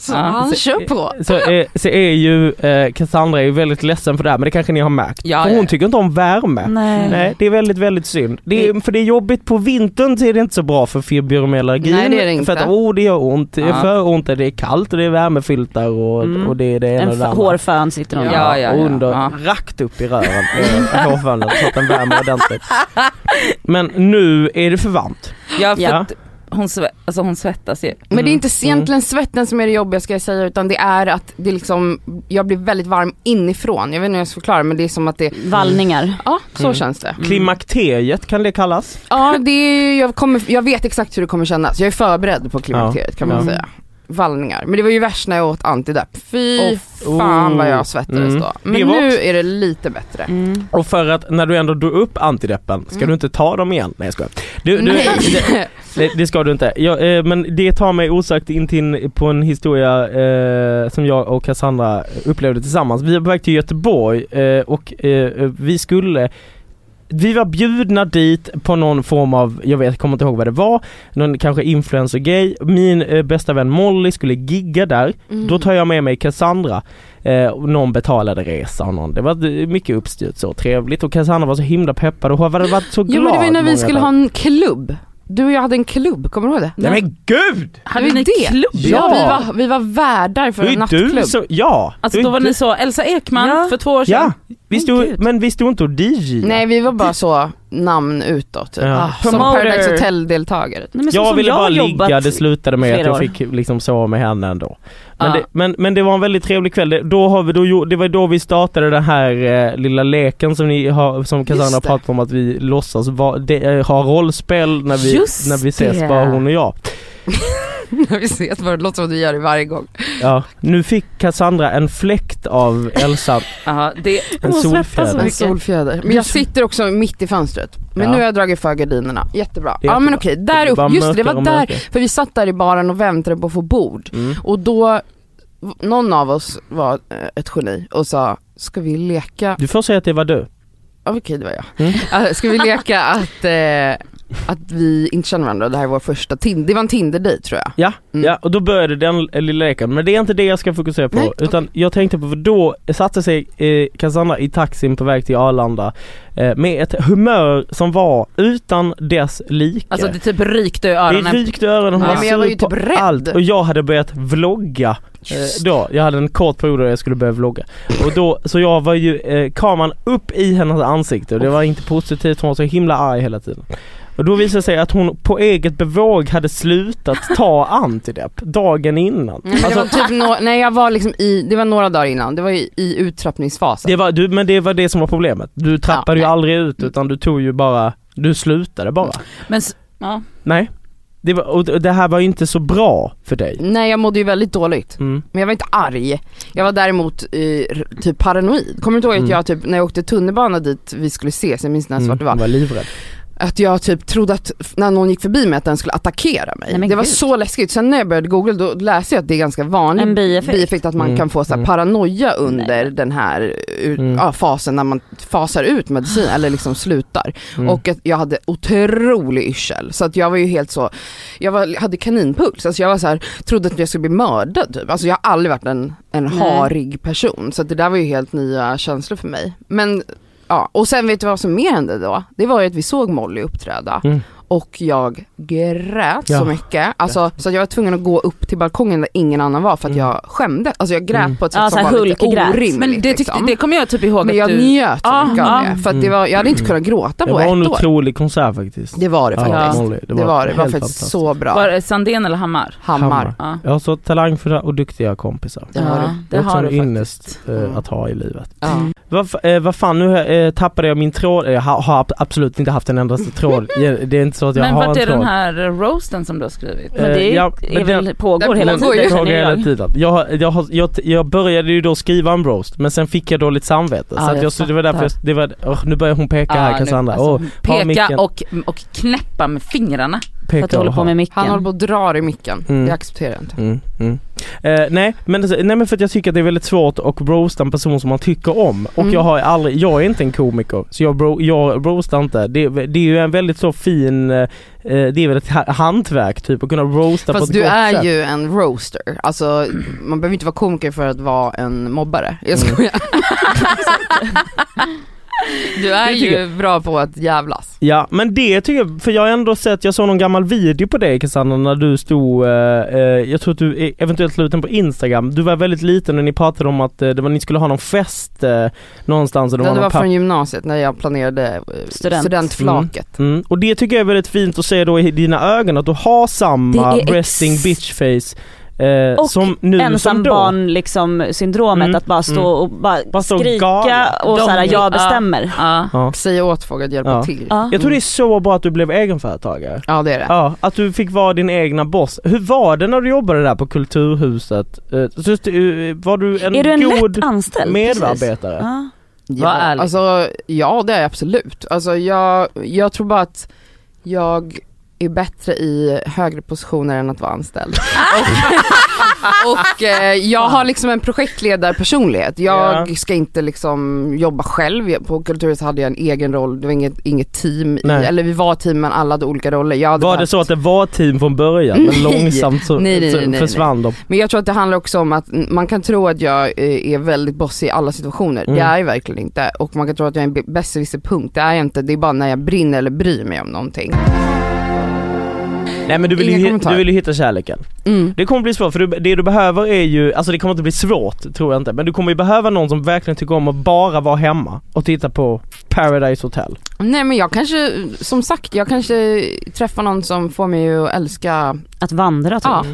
Så Ja. han kör på. så, eh, så är ju eh, Cassandra är ju väldigt ledsen för det här men det kanske ni har märkt. Ja, för ja, hon ja. tycker inte om värme. Nej. Nej, det är väldigt, väldigt synd. Det är, för det är jobbigt på vintern så är det inte så bra för fibromyalgin. Nej, det är det inte. För att åh, det gör ont, det är Ja. för ont, det är kallt och det är värmefiltar och, Mm. och det är det En ena och det f- andra. hårfön sitter någon Ja, där. ja, ja. och under, ja. rakt upp i röven, eh, hårfönen så att den värmer ordentligt. Men nu är det för varmt. Ja, för Ja. att hon, sve- alltså hon svettas ju. Men det är Mm. inte egentligen svetten som är det jobbiga ska jag säga utan det är att det liksom, jag blir väldigt varm inifrån. Jag vet inte hur jag ska förklara men det är som att det, Vallningar. ja så Mm. känns det. Klimakteriet kan det kallas. Ja det är, jag, kommer, jag vet exakt hur det kommer kännas. Jag är förberedd på klimakteriet kan man Ja. säga. Vallningar. Men det var ju värst när jag åt antidepp. Fy Åh, fan oh. vad jag svettades Mm. då. Det Men var nu också- är det lite bättre. Mm. Och för att när du ändå drog upp antideppen, ska Mm. du inte ta dem igen? Nej jag skojar. Du, du, det- Nej. Nej det ska du inte. Jag, eh, men det tar mig osökt in till en, på en historia eh, som jag och Cassandra upplevde tillsammans. Vi var på väg till Göteborg eh, och eh, vi skulle vi var bjudna dit på någon form av, jag vet, kommer inte ihåg vad det var, någon kanske influencer gay. Min eh, bästa vän Molly skulle gigga där. Mm. Då tar jag med mig Cassandra. Eh, och någon betalade resa och någon, det var eh, mycket uppstyrt så trevligt och Cassandra var så himla peppad och hon hade varit så glad. Jo men det var ju när många vi skulle dagar. ha en klubb. Du och jag hade en klubb, kommer du ihåg det? Nej men gud! Hade Det var ni det. klubb? Ja, vi, var, vi var värdar för Det är en nattklubb. du som, ja! Alltså Det är då var du- ni så, Elsa Ekman Ja. för två år Ja, sedan. vi Men stod, gud. men vi stod inte och DJ. Nej vi var bara så namn utåt. Typ. Ja. Ah, som Promoter. Paradise Hotel-deltagare. Nej, men så jag som ville jag bara har ligga, jobbat det slutade med att flera jag år. fick liksom sova med henne ändå. Men, Ja. det, men, men det var en väldigt trevlig kväll. Det, då har vi, då, gjorde- det var då vi startade den här eh, lilla leken som, ni har, som Just Cassandra det. pratade om att vi låtsas va, det, eh, ha rollspel när vi, Just när vi ses, det. bara hon och jag. När vi ses var det låter som att vi gör det varje gång. Ja, nu fick Cassandra en fläkt av Elsa, Ja, det, en Åh, svettas solfjäder. En mycket. solfjäder. Men jag sitter också mitt i fönstret. Men Ja. nu har jag dragit för gardinerna. Jättebra. Ja Jättebra. men okej, där Det bara uppe. Just det, det mörkare var och där. mörkare. För vi satt där i baren och väntade på att få bord. Mm. Och då, v- någon av oss var eh, ett geni och sa, ska vi leka, Du får säga att det var du. Ja, okej det var jag. Mm. Eh, Ska vi leka att, eh, att vi inte känner varandra. Det här är vår första Tinder, det var en Tinder-dejt tror jag. Ja, Mm. ja, och då började den eh, lilla leken. Men det är inte det jag ska fokusera på. Nej, utan jag tänkte på, för då satte sig eh, Cassandra i taxin på väg till Arlanda eh, med ett humör som var utan dess like. Alltså det typ rykte i det öronen. rykte i öronen, hon Nej, var men jag var ju sur på typ rädd. allt. Och jag hade börjat vlogga. Eh, då, jag hade en kort period där jag skulle börja vlogga. Och då, så jag var ju eh, kameran upp i hennes ansikte och det var inte positivt, hon var så himla arg hela tiden. Och då visade det sig att hon på eget bevåg hade slutat ta antidepp dagen innan. Nej, men det Alltså- var typ no- nej jag var liksom i, det var några dagar innan, det var i, i uttrappningsfasen. Det var, du, men det var det som var problemet. Du trappade nej. ju aldrig ut utan du tog ju bara, du slutade bara. Mm. Men, s- ja. Nej. Det var, och det här var ju inte så bra för dig. Nej jag mådde ju väldigt dåligt. Mm. Men jag var inte arg. Jag var däremot eh, r- typ paranoid. Kommer du inte ihåg att Mm. jag typ, när jag åkte tunnelbana dit vi skulle ses, jag minns när Mm, svart det var. hon var livrädd. Att jag typ trodde att f- när någon gick förbi mig att den skulle attackera mig. Nej, men det var gud. så läskigt. Sen när jag började googla då läste jag att det är ganska vanligt En bieffekt. att man Mm, kan få så här mm. paranoia under Nej. den här ur, Mm. ja, fasen när man fasar ut medicin eller liksom slutar. Mm. Och att jag hade otrolig yrsel. Så att jag var ju helt så, jag var, hade kaninpuls. Alltså jag var så här, trodde att jag skulle bli mördad typ. Alltså jag har aldrig varit en, en Nej. harig person. Så att det där var ju helt nya känslor för mig. Men ja, och sen vet du vad som mer hände då? Det var ju att vi såg Molly uppträda. Mm. Och jag grät Ja. så mycket, alltså, så att jag var tvungen att gå upp till balkongen där ingen annan var för att Mm. jag skämdes. Alltså jag grät Mm. på ett sätt Ja, så som här var lite Hulk-grät. orimligt. men det, tyckte, liksom. det kommer jag typ ihåg men jag att du... njöt så Ja, mycket av ja. det, för att det var, jag hade inte kunnat gråta Mm. Det på var en ett år. otrolig konsert faktiskt. Det var det faktiskt. Molly, Det var det, det var helt faktiskt fantastiskt. så bra. Var det Sandén eller Hammar? Hammar. Hammar. Ja. Jag har så talangfulla och duktiga kompisar. Det har du. Det det är också har en du faktiskt. ynnest eh, Mm. att ha i livet. Ja. Vad fa- eh, vad fan, nu eh, tappade jag min tråd. Jag har, har ab- absolut inte haft en endaste tråd. Ja, Det är inte så att jag Men har en vart tråd. är den här roasten som du har skrivit? Men det Eh, ja, är men väl, den- pågår den hela pågår ju. tiden. Jag har känner hela jag. tiden. Jag, har- jag, har- jag, jag började ju då skriva en roast men sen fick jag dåligt samvete. Ja, så att jag jag, så det var därför jag, det var, åh, nu börjar hon peka Ja, här nu- Cassandra. alltså, Åh, ha Peka micken. och, och knäppa med fingrarna. För att du peka håller och på ha. med micken. Han håller på och drar i micken, Mm. det accepterar jag inte. Mm, mm. Eh, nej, men, det- nej men för att jag tycker att det är väldigt svårt att roasta en person som man tycker om och Mm. jag har aldrig, jag är inte en komiker så jag, bro, jag roastar inte. Det, det är ju en väldigt så fin, eh, eh, det är väl ett ha- hantverk typ att kunna roasta på Fast ett du gott är sätt. ju en roaster, alltså man behöver inte vara komiker för att vara en mobbare. Jag Mm. skojar. du är Det tycker ju bra på att jävlas. Ja men det tycker jag, för jag har ändå sett, jag såg någon gammal video på dig Cassandra när du stod, eh, eh, jag tror att du eh, eventuellt la ut den på Instagram, du var väldigt liten och ni pratade om att eh, det var, ni skulle ha någon fest eh, någonstans och det Det var någon var pappa- från gymnasiet när jag planerade eh, Student. studentflaket. Mm. Och det tycker jag är väldigt fint att se då i dina ögon att du har samma Det är ex- resting bitch face eh, Och som nu som då. Ensambarn liksom syndromet Mm, att bara stå mm. och bara, Bara stå och skrika gala. och De- såhär Ja. jag bestämmer. Ja. Ja. Säga åt folk att hjälpa Ja. till. Ja. Ja. Jag tror det är så bra att du blev egenföretagare. det är det. Ja, att du fick vara din egna boss. Hur var det när du jobbade där på Kulturhuset? Eh, så just, eh, var du en, Är du en god lätt anställd? Precis. medarbetare? Ja. Ja, Var ärlig. alltså, ja det är jag absolut. Alltså, jag, jag tror bara att jag är bättre i högre positioner än att vara anställd. och och eh, jag har liksom en projektledarpersonlighet. Jag Ja. ska inte liksom jobba själv. Jag- På Kulturhuset hade jag en egen roll, det var inget, inget team, i, Nej. eller vi var team men alla hade olika roller. Jag hade Var det behövt- så att det var ett team från början men Nej. långsamt så, Nej, nej, så nej, nej, försvann de? Men jag tror att det handlar också om att mm, man kan tro att jag eh, är väldigt bossig i alla situationer. Mm. Det är jag verkligen inte. Och man kan tro att jag är en b- besserwisser-punkt. Det är jag inte. Det är bara när jag brinner eller bryr mig om någonting. Nej men du vill, Ingen ju, kommentar. du vill ju hitta kärleken. Mm. Det kommer bli svårt för du, det du behöver är ju, alltså det kommer inte bli svårt tror jag inte, men du kommer ju behöva någon som verkligen tycker om att bara vara hemma och titta på Paradise Hotel. Nej men jag kanske, som sagt, jag kanske träffar någon som får mig att älska, Att vandra typ. ja.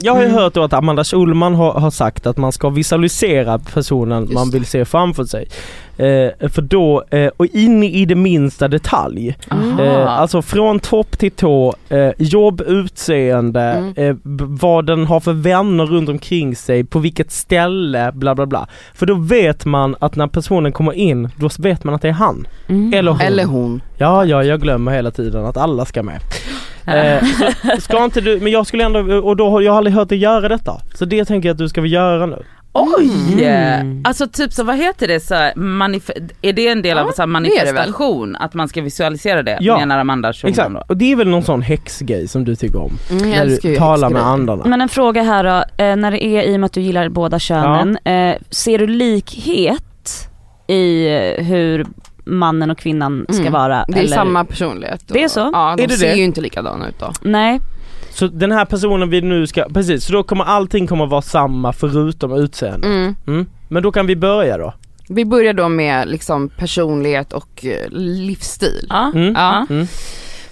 Jag har ju Mm. hört då att Amanda Schulman har, har sagt att man ska visualisera personen Just man det. vill se framför sig. Eh, för då, eh, och in i det minsta detalj. Mm. Eh, alltså från topp till tå, eh, jobb, utseende, Mm. eh, b- vad den har för vänner runt omkring sig, på vilket ställe, bla bla bla. För då vet man att när personen kommer in, då vet man att det är han. Mm. Eller hon. Eller hon. Ja, ja, jag glömmer hela tiden att alla ska med. Eh, så ska inte du, men jag skulle ändå, och då har jag aldrig hört dig göra detta. Så det tänker jag att du ska väl göra nu. Oj! Mm. Alltså typ så vad heter det så här, manif- är det en del av så här det är det väl. manifestation? Att man ska visualisera det Ja, menar Amanda Schulman Exakt, då? och det är väl någon sån häxgrej som du tycker om? Mm, jag när älskar du ju talar med häxgrejer. andarna. Men en fråga här då, eh, när det är i och med att du gillar båda könen, eh, ser du likhet i eh, hur mannen och kvinnan ska Mm. vara? Det är eller? samma personlighet. Det är så? Ja, de Är det ser det? ju inte likadana ut då. Nej, Så den här personen vi nu ska, precis, så då kommer allting kommer vara samma förutom utseende. Mm. Mm. Men då kan vi börja då. Vi börjar då med liksom personlighet och eh, livsstil. Ja. Mm. Ja. Mm.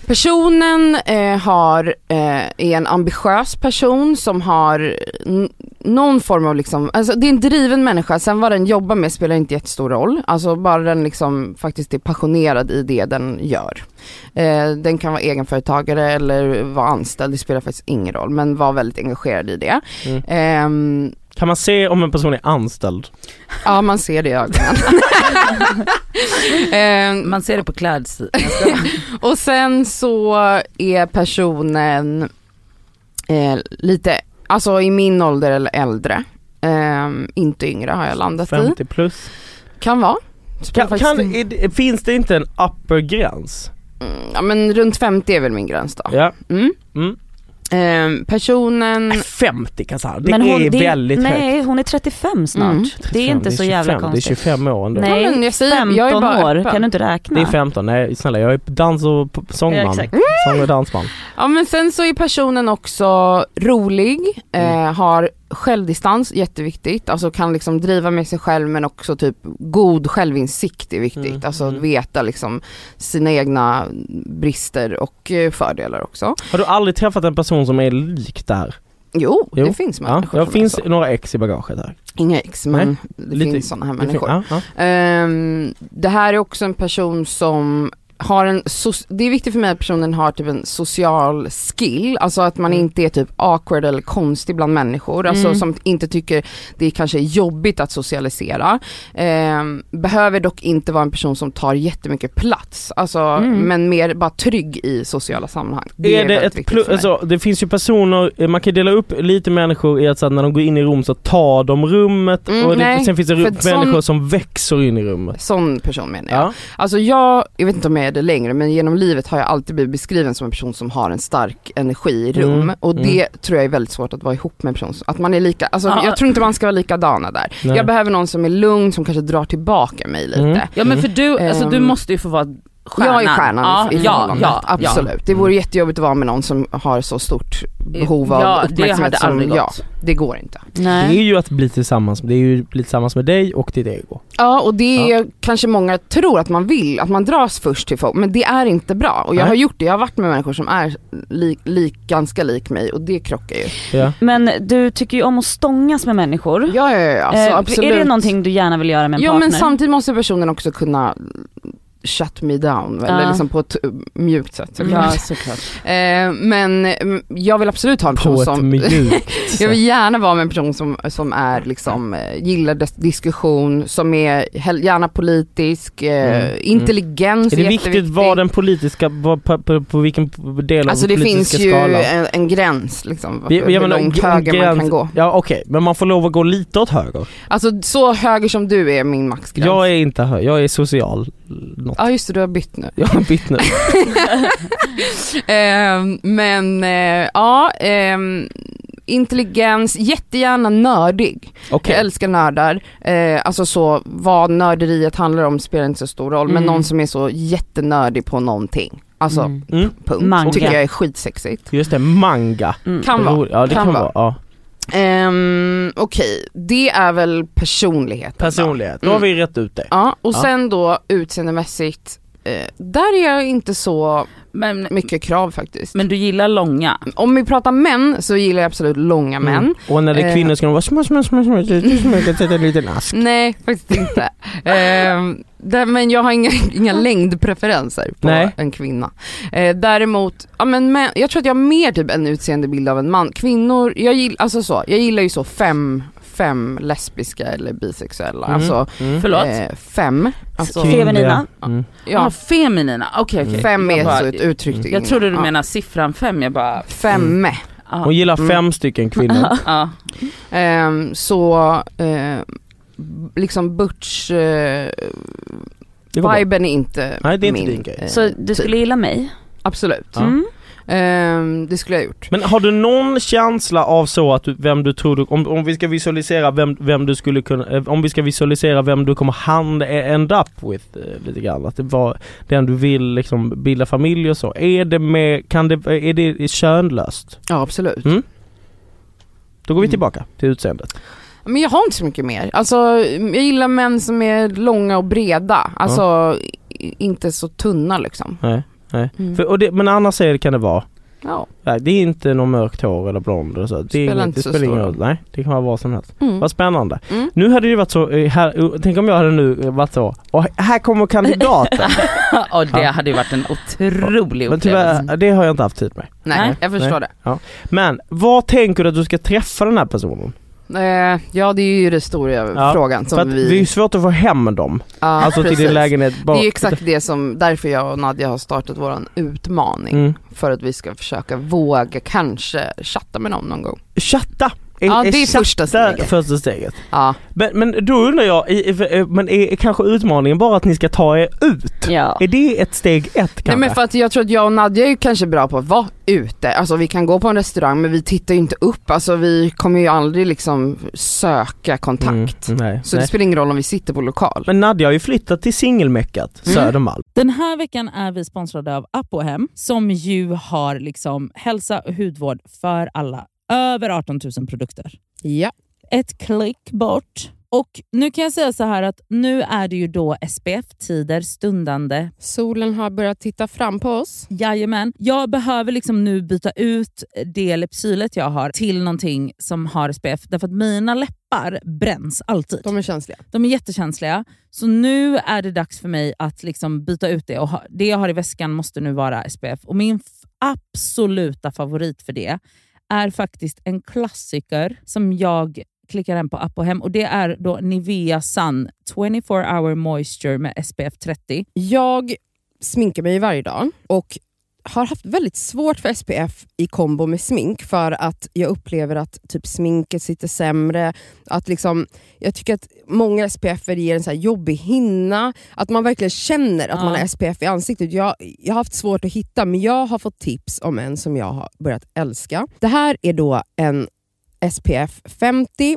Personen eh, har, eh, är en ambitiös person som har n- någon form av liksom, alltså det är en driven människa, sen vad den jobbar med spelar inte jättestor roll. Alltså bara den liksom faktiskt är passionerad i det den gör. Eh, den kan vara egenföretagare eller vara anställd, det spelar faktiskt ingen roll, men var väldigt engagerad i det. Mm. Ehm, Kan man se om en person är anställd? Ja man ser det i ögonen. Ehm, Man ser det på klädstilen. och sen så är personen eh, lite, alltså i min ålder eller äldre. Ehm, inte yngre har jag landat i. 50 plus? Kan vara. Kan, Spelar faktiskt kan, ingen- är det- finns det inte en upper gräns? Mm, ja men runt 50 är väl min gräns då. Ja. Mm. Mm. Ehm, personen, 50 Kazan, det Mm. men hon, är det väldigt högt. Nej, hon är 35 snart. Mm. Det är 35, inte så jävla 25, konstigt. Det är 25 år ändå. Ja, Nej, men jag säger- 15 jag är bara år, öppen. kan du inte räkna? Det är 15, nej snälla jag är dans och p- Ja, sångman. exakt. Sång och dansman. ja men sen så är personen också rolig, eh, Mm. har självdistans, jätteviktigt, alltså kan liksom driva med sig själv men också typ god självinsikt är viktigt, Mm, alltså mm. att veta liksom sina egna brister och eh, fördelar också. Har du aldrig träffat en person som är lik där? Jo, Jo. det finns Ja, människor det som är finns alltså. så. några ex i bagaget här. Inga ex men Nej, det lite- finns sådana här Det fin- människor. ja, ja. Ehm, det här är också en person som har en, so- det är viktigt för mig att personen har typ en social skill, alltså att man Mm. inte är typ awkward eller konstig bland människor, alltså Mm. som inte tycker det är kanske är jobbigt att socialisera. Ehm, behöver dock inte vara en person som tar jättemycket plats, alltså, Mm. men mer bara trygg i sociala sammanhang. Det är, det väldigt ett viktigt för plu- mig. alltså, det finns ju personer, eh, man kan dela upp lite människor i att så att när de går in i rum så tar de rummet Mm, och det, nej, sen finns det för rum, att sån- människor som växer in i rummet. Sån person menar jag. Ja. Alltså jag, jag vet inte om jag är det längre men genom livet har jag alltid blivit beskriven som en person som har en stark energi i rum Mm, och det mm. tror jag är väldigt svårt att vara ihop med en person som, att man är lika, alltså Ja. jag tror inte man ska vara likadana där. Nej. Jag behöver någon som är lugn som kanske drar tillbaka mig lite. Mm. Ja men för du, alltså, du Ehm, måste ju få vara stjärnan. Jag är stjärnan ja, i, i ja, förhållandet, ja, Mm. absolut. Det vore jättejobbigt att vara med någon som har så stort behov av ja, det uppmärksamhet hade som aldrig jag. gått. Det går inte. Det är Nej. ju att bli tillsammans, det är ju att bli tillsammans med dig och ditt ego. Ja och det är kanske många tror att man vill, att man dras först till folk men det är inte bra. Och jag Nej. har gjort det, jag har varit med människor som är li, lik, ganska lik mig och det krockar ju. Ja. Men du tycker ju om att stångas med människor. Ja ja ja, alltså, Eh, absolut. Är det någonting du gärna vill göra med en Jo partner? men samtidigt måste personen också kunna shut me down, eller Ja. Mm. liksom på ett eh, mjukt sätt. såklart. Ja såklart. Eh, men eh, jag vill absolut ha en person På ett som mjukt Jag sätt. vill gärna vara med en person som, som är liksom, eh, gillar dis- diskussion, som är hel- gärna politisk, eh, Mm, intelligens Är det viktigt jätteviktigt. vad den politiska, vad, på, på, på vilken del av Alltså den det finns politiska ju skalan? en, en gräns liksom, Vi- hur menar, långt en höger man gräns- kan gå. Ja okej, men man får lov att gå lite åt höger. Alltså så höger som du är min maxgräns. Jag är inte höger, jag är social. Något. Ja just det, du har bytt nu. Jag har bytt nu. Ehm, men eh, ja, ehm, intelligens, jättegärna nördig. Jag Okej. älskar nördar, eh, alltså så vad nörderiet handlar om spelar inte så stor roll, men Mm. någon som är så jättenördig på någonting, alltså Mm. Mm. punkt, Manga. tycker jag är skitsexigt. Just det, manga. Mm. Kan vara. Roligt. Ja det kan, Kan vara. Ja. vara. Ehm, Okej, det är väl personligheten. då. Personlighet, då har vi rätt ut det. Ja, och Ja. sen då utseendemässigt, eh, där är jag inte så Men, mycket krav faktiskt. men du gillar långa. Om vi pratar män så gillar jag absolut långa män. Mm. Och när det är Eh. kvinnor ska de vara små, små, små, små, lite små, jag kan sätta en liten ask. Nej, faktiskt inte. Ehm, där, men jag har inga, inga längdpreferenser på Nej. en kvinna. Eh, däremot, ja, men män, jag tror att jag har mer typ en utseendebild av en man. Kvinnor, jag, gill, alltså så, jag gillar ju så fem, fem lesbiska eller bisexuella. Mm. Alltså Mm. Förlåt? eh, fem. Alltså, Kvinnliga. Feminina. Mm. ja. ja, feminina, okej okej. fem Jag är bara- så ett uttryck. Jag till kvinnor. trodde du Ja. menade siffran fem, jag bara Femme. Ja. Hon gillar Mm. fem stycken kvinnor. Ja. Ehm, så eh, liksom eh, butch-viben Det var bra. är inte Nej, det är inte min. din grej. eh, Så du skulle gilla mig? Absolut. Ja. Mm. Ehm, det skulle jag ha gjort. Men har du någon känsla av så att du, vem du tror du, om, om vi ska visualisera vem, vem du skulle kunna, eh, om vi ska visualisera vem du kommer hand e- end up with eh, lite grann, att det var den du vill liksom bilda familj och så. Är det med, kan det, är det könlöst? Ja absolut. Mm. Då går vi Mm. tillbaka till utseendet. Men jag har inte så mycket mer. Alltså jag gillar män som är långa och breda. Alltså i- inte så tunna liksom. Nej. Mm. För, och det, men annars är det, kan det vara, ja. nej, det är inte någon mörkt hår eller blond eller så. Det är Spelar inget- inte det så spelar ingen stor roll. Nej, det kan vara vad som helst. Mm. Vad spännande. Mm. Nu hade det ju varit så, eh, här, oh, tänk om jag hade nu eh, varit så, och här kommer kandidaten. Och det Ja. hade ju varit en otrolig upplevelse. Men tyvärr, det har jag inte haft tid med. Nej, Nej. jag förstår det. Men vad tänker du att du ska träffa den här personen? Eh, ja det är ju den stora frågan För som att vi... det är ju svårt att få hem dem, Ja, alltså till precis. din lägenhet. Det Bara- är ju exakt det som, därför jag och Nadja har startat våran utmaning. Mm. För att vi ska försöka våga kanske chatta med någon någon gång. Chatta! Eh, Ja, det är första chatta steget. första steget. Ja. Men, men då undrar jag, i- i- eh, men är kanske utmaningen bara att ni ska ta er ut? Ja. Är det ett steg ett kanske? Nej men för att jag tror att jag och Nadja är ju kanske bra på att vara ute, alltså vi kan gå på en restaurang men vi tittar ju inte upp, alltså vi kommer ju aldrig liksom söka kontakt. Mm, nej, Så nej. det spelar ingen roll om vi sitter på lokal. Men Nadja har ju flyttat till singelmeckat, Mm. Södermalm. Den här veckan är vi sponsrade av Apohem som ju har liksom hälsa och hudvård för alla. Över 18 000 produkter. Ja. Ett klick bort. Och nu kan jag säga så här att nu är det ju då SPF-tider stundande. Solen har börjat titta fram på oss. Jajamän. Jag behöver liksom nu byta ut det lepsylet jag har till någonting som har SPF därför att mina läppar bränns alltid. De är känsliga. De är jättekänsliga. Så nu är det dags för mig att liksom byta ut det. Och ha, det jag har i väskan måste nu vara SPF. Och Min f- absoluta favorit för det är faktiskt en klassiker som jag klickar hem på app och hem. Och Det är då Nivea Sun 24 hour moisture med SPF 30. Jag sminkar mig varje dag och har haft väldigt svårt för SPF i kombo med smink för att jag upplever att typ sminket sitter sämre. Att liksom, jag tycker att många SPF ger en så här jobbig hinna. Att man verkligen känner att Ja. man har SPF i ansiktet. Jag, jag har haft svårt att hitta men jag har fått tips om en som jag har börjat älska. Det här är då en SPF 50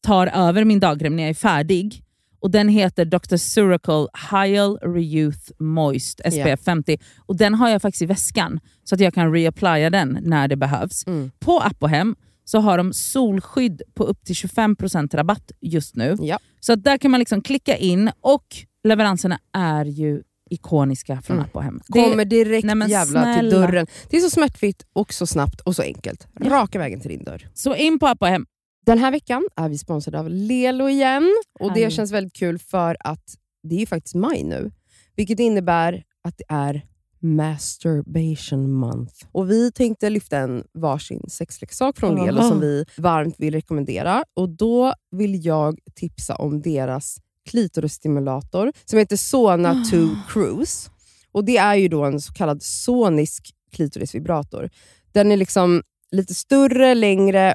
tar över min dagkräm när jag är färdig. Och Den heter Dr. Suracle Hyal Reyouth Moist SPF Ja. 50. Och Den har jag faktiskt i väskan så att jag kan reapplya den när det behövs. Mm. På app och hem så har de solskydd på upp till 25% rabatt just nu. Ja. Så att där kan man liksom klicka in och leveranserna är ju ikoniska från Mm. app och hem. Det- Kommer direkt Nej, men jävla till snälla. dörren. Det är så smärtfritt och så snabbt och så enkelt. Raka vägen till din dörr. Så in på app och hem. Den här veckan är vi sponsrade av Lelo igen. Och Det Härligt. känns väldigt kul för att det är ju faktiskt maj nu. Vilket innebär att det är masturbation month. Och Vi tänkte lyfta en varsin sexleksak från Lelo Aha. som vi varmt vill rekommendera. Och Då vill jag tipsa om deras klitorisstimulator som heter Sona 2 Cruise. Och Det är ju då en så kallad sonisk klitorisvibrator. Den är liksom lite större, längre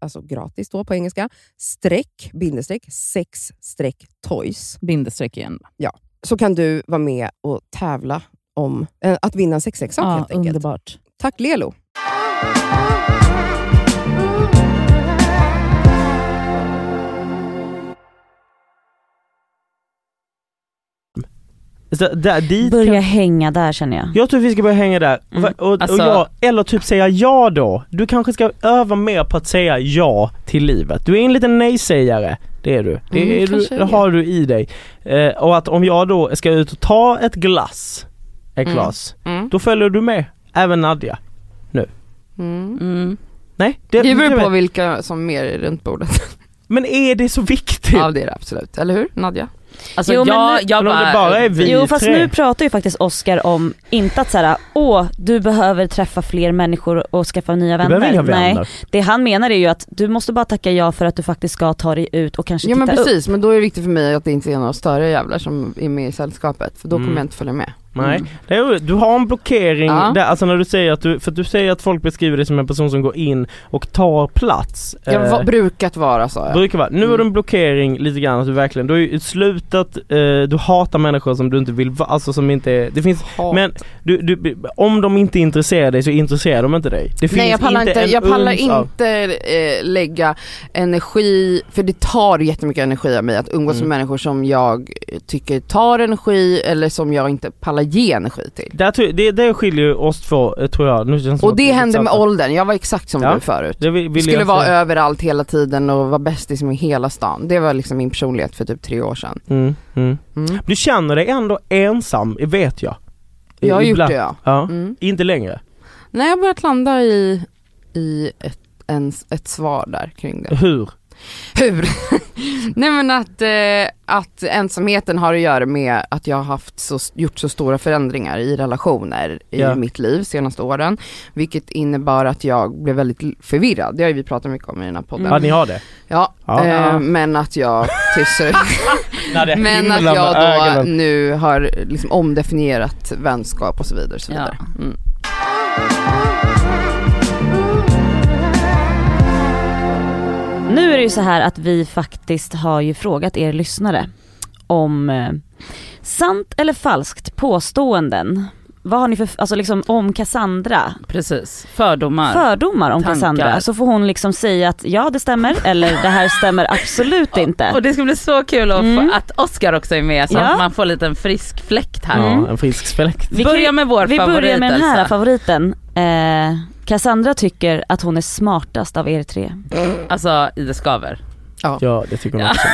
alltså gratis då på engelska, streck, bindestreck, sex streck toys. Bindestreck igen. Så kan du vara med och tävla om eh, att vinna en sexleksak Ja, helt enkelt. underbart. Tack Lelo! Så där, dit kan- Börja hänga där känner jag. Jag tror vi ska börja hänga där. Mm. Va- Och, Alltså- och jag, eller typ säga ja då. Du kanske ska öva mer på att säga ja till livet. Du är en liten nej-sägare. Det är du. Det, Mm, är du, kanske det är. har du i dig. Eh, och att om jag då ska ut och ta ett glass, ett Mm. glas, Mm. då följer du med. Även Nadja. Mm. Mm. Nej? Det beror på vilka som mer är runt bordet. Men är det så viktigt? ja det är det absolut. Eller hur Nadja? Alltså Jo, men jag, nu- jag Men om bara... det bara är vi Jo fast tre. nu pratar ju faktiskt Oscar om, inte att såhär, åh du behöver träffa fler människor och skaffa nya du vänner. behöver inga vänner. Nej, det han menar är ju att du måste bara tacka ja för att du faktiskt ska ta dig ut och kanske Ja titta men upp. precis, men då är det viktigt för mig att det inte är några större jävlar som är med i sällskapet. För då Mm. kommer jag inte följa med. Mm. Nej, Mm. det är, du har en blockering Ja. där, alltså när du säger att du, för att du säger att folk beskriver dig som en person som går in och tar plats. Jag Eh, har brukat vara så. Ja. Brukar vara. Nu har du Mm. en blockering lite grann, att du verkligen, du har ju slutat, eh, du hatar människor som du inte vill vara, alltså som inte är, det finns, men du, du, om de inte intresserar dig så intresserar de inte dig. Det finns Nej jag pallar inte, en jag pallar uns av- inte eh, lägga energi, för det tar jättemycket energi av mig att umgås Mm. med människor som jag tycker tar energi eller som jag inte pallar ge energi till. Där, tror jag- det, det skiljer ju oss två eh, tror jag. Nu känns det som Och att det vi är hände med tillsammans. åldern, jag var exakt som Ja. du förut. Det vill, vill Skulle jag vara säga. överallt hela tiden och vara bästis med hela stan. Det var liksom min personlighet för typ tre år sedan. mm, mm. Mm. Du känner dig ändå ensam, vet jag. I- Jag har gjort ibland. det ja. Ja. Mm. Inte längre. Nej jag har börjat landa i, i ett, en, ett svar där kring det. Hur? Hur? Nej men att, eh, att ensamheten har att göra med att jag har haft så, gjort så stora förändringar i relationer i Ja. mitt liv senaste åren. Vilket innebar att jag blev väldigt l- förvirrad. Det har ju vi pratat mycket om i den här podden. Ja ni har det? Ja, Ja. eh, Ja. men att jag tyssar Nadja Men att himlar jag med då ögonen. nu har liksom omdefinierat vänskap och så vidare. Och så Ja. vidare. Mm. Nu är det ju så här att vi faktiskt har ju frågat er lyssnare om eh, sant eller falskt påståenden. Vad har ni för, alltså liksom om Cassandra, Precis, fördomar. fördomar om Tankar. Cassandra så får hon liksom säga att ja det stämmer eller det här stämmer absolut Och inte. det ska bli så kul att, få- Mm. att Oscar också är med så Ja. att man får en liten frisk fläkt här. Mm. Ja, en frisk fläkt. Vi, kan, Börja ju- med vår vi favorit börjar med den här Elsa. favoriten. Eh, Cassandra tycker att hon är smartast av er tre. Alltså Ida Skaver. Ja det tycker man också.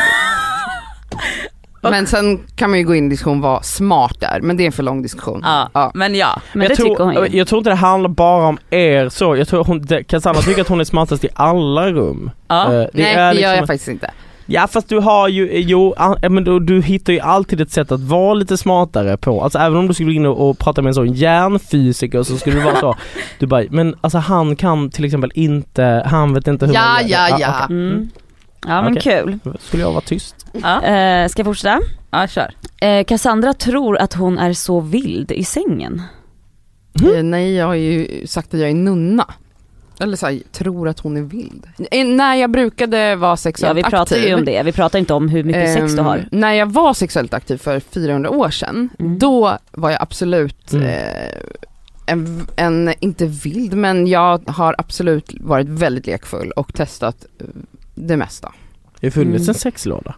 Men sen kan man ju gå in i diskussion vad smart är, men det är en för lång diskussion. Ja. Ja. Men ja, Men jag, det tror, tycker hon ju. jag tror inte det handlar bara om er så, jag tror hon, det- Cassandra tycker att hon är smartast i alla rum. ja. Eh, Nej det gör jag liksom- faktiskt inte. Ja fast du har ju, eh, jo, an- eh, men du, du hittar ju alltid ett sätt att vara lite smartare på, alltså även om du skulle gå in och, och prata med en sån hjärnfysiker så skulle du vara så, du bara, men alltså han kan till exempel inte, han vet inte hur Ja, man gör ja, det. ja. Mm. Ja men Okej. kul. okej. Skulle jag vara tyst? Ja. Eh, ska jag fortsätta? ja kör. Eh, Cassandra tror att hon är så vild i sängen. Eh, Nej, jag har ju sagt att jag är nunna. Eller så här, tror att hon är vild. Eh, När jag brukade vara Ja sexuellt vi pratar aktiv. ju om det, vi pratar inte om hur mycket sex du ehm, har. När jag var sexuellt aktiv för 400 år sedan, Mm. då var jag absolut Mm. eh, en, en, inte vild, men jag har absolut varit väldigt lekfull och testat eh, det mesta. Det funnits Mm. en sexlåda.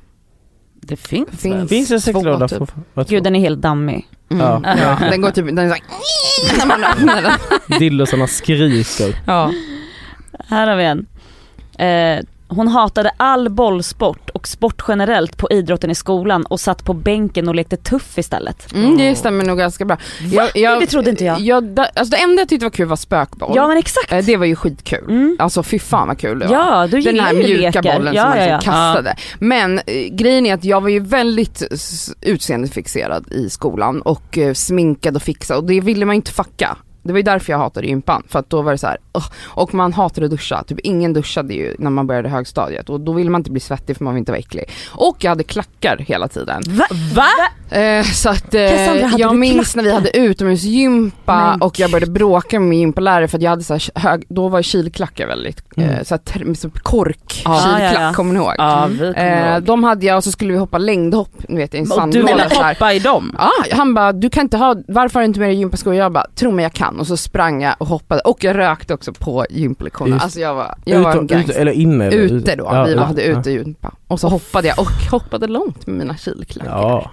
Det finns, Finns. väl? Finns det en Två, sexlåda? typ. för- vad tror Gud den är helt dammig. Mm. Ja. Ja. Den går typ, den är såhär, när man öppnar den. du? Dillosarna skriker. Ja. Här har vi en. Eh, Hon hatade all bollsport och sport generellt på idrotten i skolan och satt på bänken och lekte tuff istället. Mm, det stämmer nog ganska bra. Jag, jag, Det trodde inte jag. jag da, alltså det enda jag tyckte var kul var spökboll. Ja men exakt. Eh, Det var ju skitkul. Mm. Alltså fy fan vad kul det var. Ja, du Den gillar här ju mjuka leker. bollen ja, som man ja, liksom ja. kastade. Men eh, grejen är att jag var ju väldigt s- utseendefixerad i skolan och eh, sminkad och fixad och det ville man ju inte fucka. Det var ju därför jag hatade gympan, för att då var det så här, "Ugh." och man hatade att duscha, typ ingen duschade ju när man började högstadiet och då ville man inte bli svettig för man vill inte vara äcklig. Och jag hade klackar hela tiden. Va? Va? Eh, så att eh, Cassandra, hade jag du minns när vi hade utomhusgympa Men och jag började bråka med min gympalärare för att jag hade så här hög, då var kilklackar väldigt, eh, så här, ter- med så kork, Mm. Ja. kilklack, Ja, ja, ja. kommer ni ihåg? Ja, vi kommer Eh, ihåg. de hade jag och så skulle vi hoppa längdhopp, ni vet i en Och du ville sandlåda så här. hoppa i dem? Ja, han bara, du kan inte ha, varför har du inte med dig gympaskor? Jag bara, tro mig jag kan. Och så sprang jag och hoppade och jag rökte också på gympalektionerna. Just. Alltså jag var, jag var en Utom- ute, gangster. eller inne? eller- Ute då, Ja, vi ute. hade ute gympa. Och så hoppade jag och hoppade långt med mina kilklackar. Ja.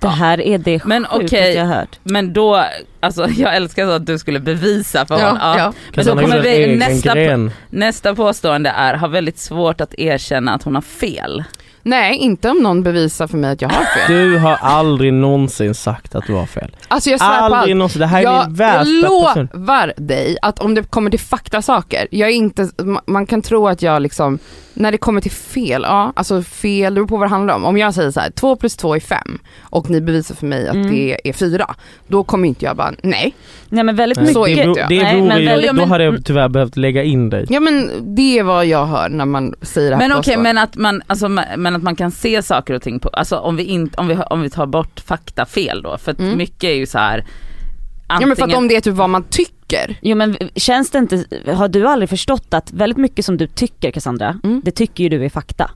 Det här är det Men sjukaste okej. jag har hört. Men då, alltså jag älskar så att du skulle bevisa för honom. Ja. Men då Cassandra kommer gjorde en vi, egen nästa, gren. nästa påstående är, har väldigt svårt att erkänna att hon har fel. Nej, inte om någon bevisar för mig att jag har fel. Du har aldrig någonsin sagt att du har fel. Alltså jag svär på Aldrig allt. någonsin. Det här är jag din värsta person. lovar dig att om det kommer till faktasaker, jag är inte, ma- man kan tro att jag liksom, när det kommer till fel, ja alltså fel, det beror på vad det handlar om. Om jag säger så här, 2 plus 2 är 5 och ni bevisar för mig att Mm. det är 4, då kommer inte jag bara, nej. Nej men väldigt Nej, mycket. Så det vet beror- jag. det Nej, vore men ju, väl- ja, då men- hade jag tyvärr behövt lägga in dig. Ja men det är vad jag hör när man säger det här Men okej, påståendet. men, att man, alltså, ma- men att man kan se saker och ting på, alltså om vi, inte, om vi, har- om vi tar bort faktafel då, för att Mm. mycket är ju så här Ja men för att antingen- om det är typ vad man tycker, Jo men känns det inte, har du aldrig förstått att väldigt mycket som du tycker Cassandra, Mm. det tycker ju du är fakta.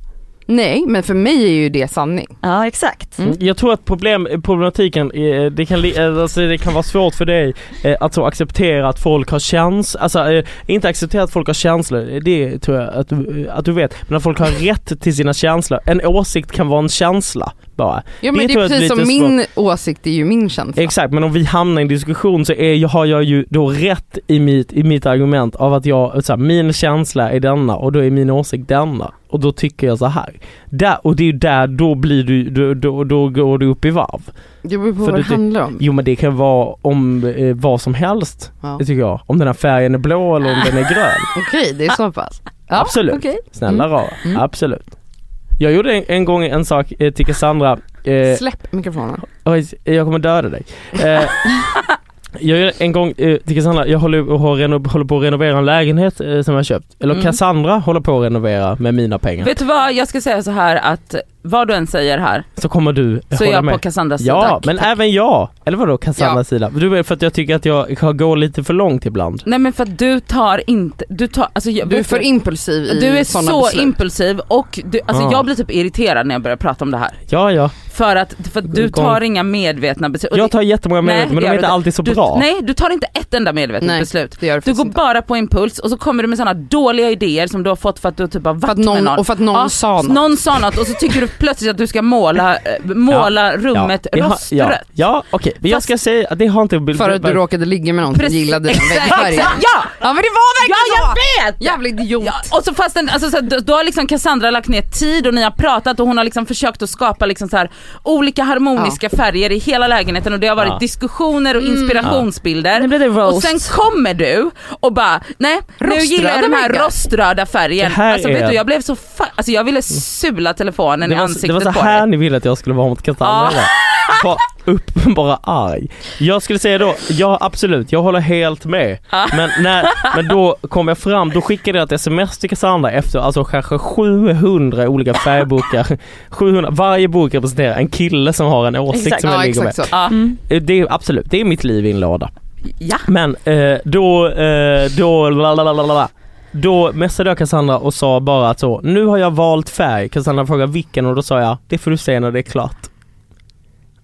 nej men för mig är ju det sanning. Ja exakt. Mm. Jag tror att problem, problematiken, eh, det kan, li- eh, alltså det kan vara svårt för dig eh, att så acceptera att folk har känslor, alltså eh, inte acceptera att folk har känslor, eh, det tror jag att du, eh, att du vet. Men att folk har rätt till sina känslor. En åsikt kan vara en känsla bara. Ja men Det det, tror är jag är precis som lite min åsikt är ju min känsla. Exakt, men om vi hamnar i en diskussion så är, har jag ju då rätt i mitt, i mitt argument av att jag, så här, min känsla är denna och då är min åsikt denna och då tycker jag så här. Där, och det är ju där, då blir du, då, då, då går du upp i varv. Det beror på För vad det du ty- handlar om. Jo men det kan vara om eh, vad som helst, Ja. det tycker jag. Om den här färgen är blå eller om den är grön. Okej, det är så pass. Ja, Absolut. okej. Snälla rara, Mm. absolut. Jag gjorde en, en gång en sak eh, till Cassandra, eh, Släpp mikrofonen. oj, jag kommer döda dig. Eh, jag gjorde en gång eh, till Cassandra, jag håller, och har reno, håller på att renovera en lägenhet eh, som jag har köpt. Eller Mm. Cassandra håller på att renovera med mina pengar. Vet du vad, jag ska säga så här att vad du än säger här Så kommer du så är hålla jag med. på Cassandras sida. Ja, men även jag. Eller vadå Cassandras sida? Du är för att jag tycker att jag har- går lite för långt ibland. Nej men för att du tar inte, du tar, alltså jag, Du är vet för impulsiv i du är såna så beslut. impulsiv och du, alltså Ah. jag blir typ irriterad när jag börjar prata om det här. Ja, ja. För att, för att du Gång. tar inga medvetna beslut. Och Jag det- tar jättemånga Nej, medvetna det men de gör är du inte inte. alltid så du, bra. Nej du tar inte ett enda medvetet Nej, beslut. det gör det Du faktiskt går inte. bara på impuls och så kommer du med sådana dåliga idéer som du har fått för att du typ har varit för att med någon, någon. Och för att någon Ja, sa något. Någon sa något och så tycker du plötsligt att du ska måla, eh, måla rummet det har- rostrött. Ja, ja okej. Men jag Fast- ska säga att det har inte... för att du råkade ligga med någon som Precis, gillade den Exakt, väggfärgen. exakt, ja! Ja men det var Ja verkligen jag så! vet! Jävla idiot. Ja, och så fastän, alltså, så här, då, då har liksom Cassandra lagt ner tid och ni har pratat och hon har liksom försökt att skapa liksom så här, olika harmoniska färger i hela lägenheten och det har varit Ja. diskussioner och inspirationsbilder. Nu blev det roast. Och sen kommer du och bara, nej nu Roströda gillar jag den här väggar. roströda färgen. Det här Alltså är- vet du jag blev så fa- alltså jag ville sula telefonen det i var, så- det ansiktet var så på här dig. Ah. ni ville att jag skulle vara mot Ja. Cassandra. Ja. Uppenbara arg. Jag skulle säga då, ja absolut, jag håller helt med. Ah. Men, när, men då kom jag fram, då skickade jag ett sms till Cassandra efter alltså kanske 700 olika färgbokar. 700, varje bok representerar en kille som har en åsikt Exakt. som jag ja ligger med. exakt så. Ja. Eh, Det är, absolut, det är mitt liv i en låda. Ja. Men eh, då, eh, då, la, la, la, la, la, la. Då messade jag Cassandra och sa bara att så, nu har jag valt färg. Cassandra frågade vilken och då sa jag, det får du se när det är klart.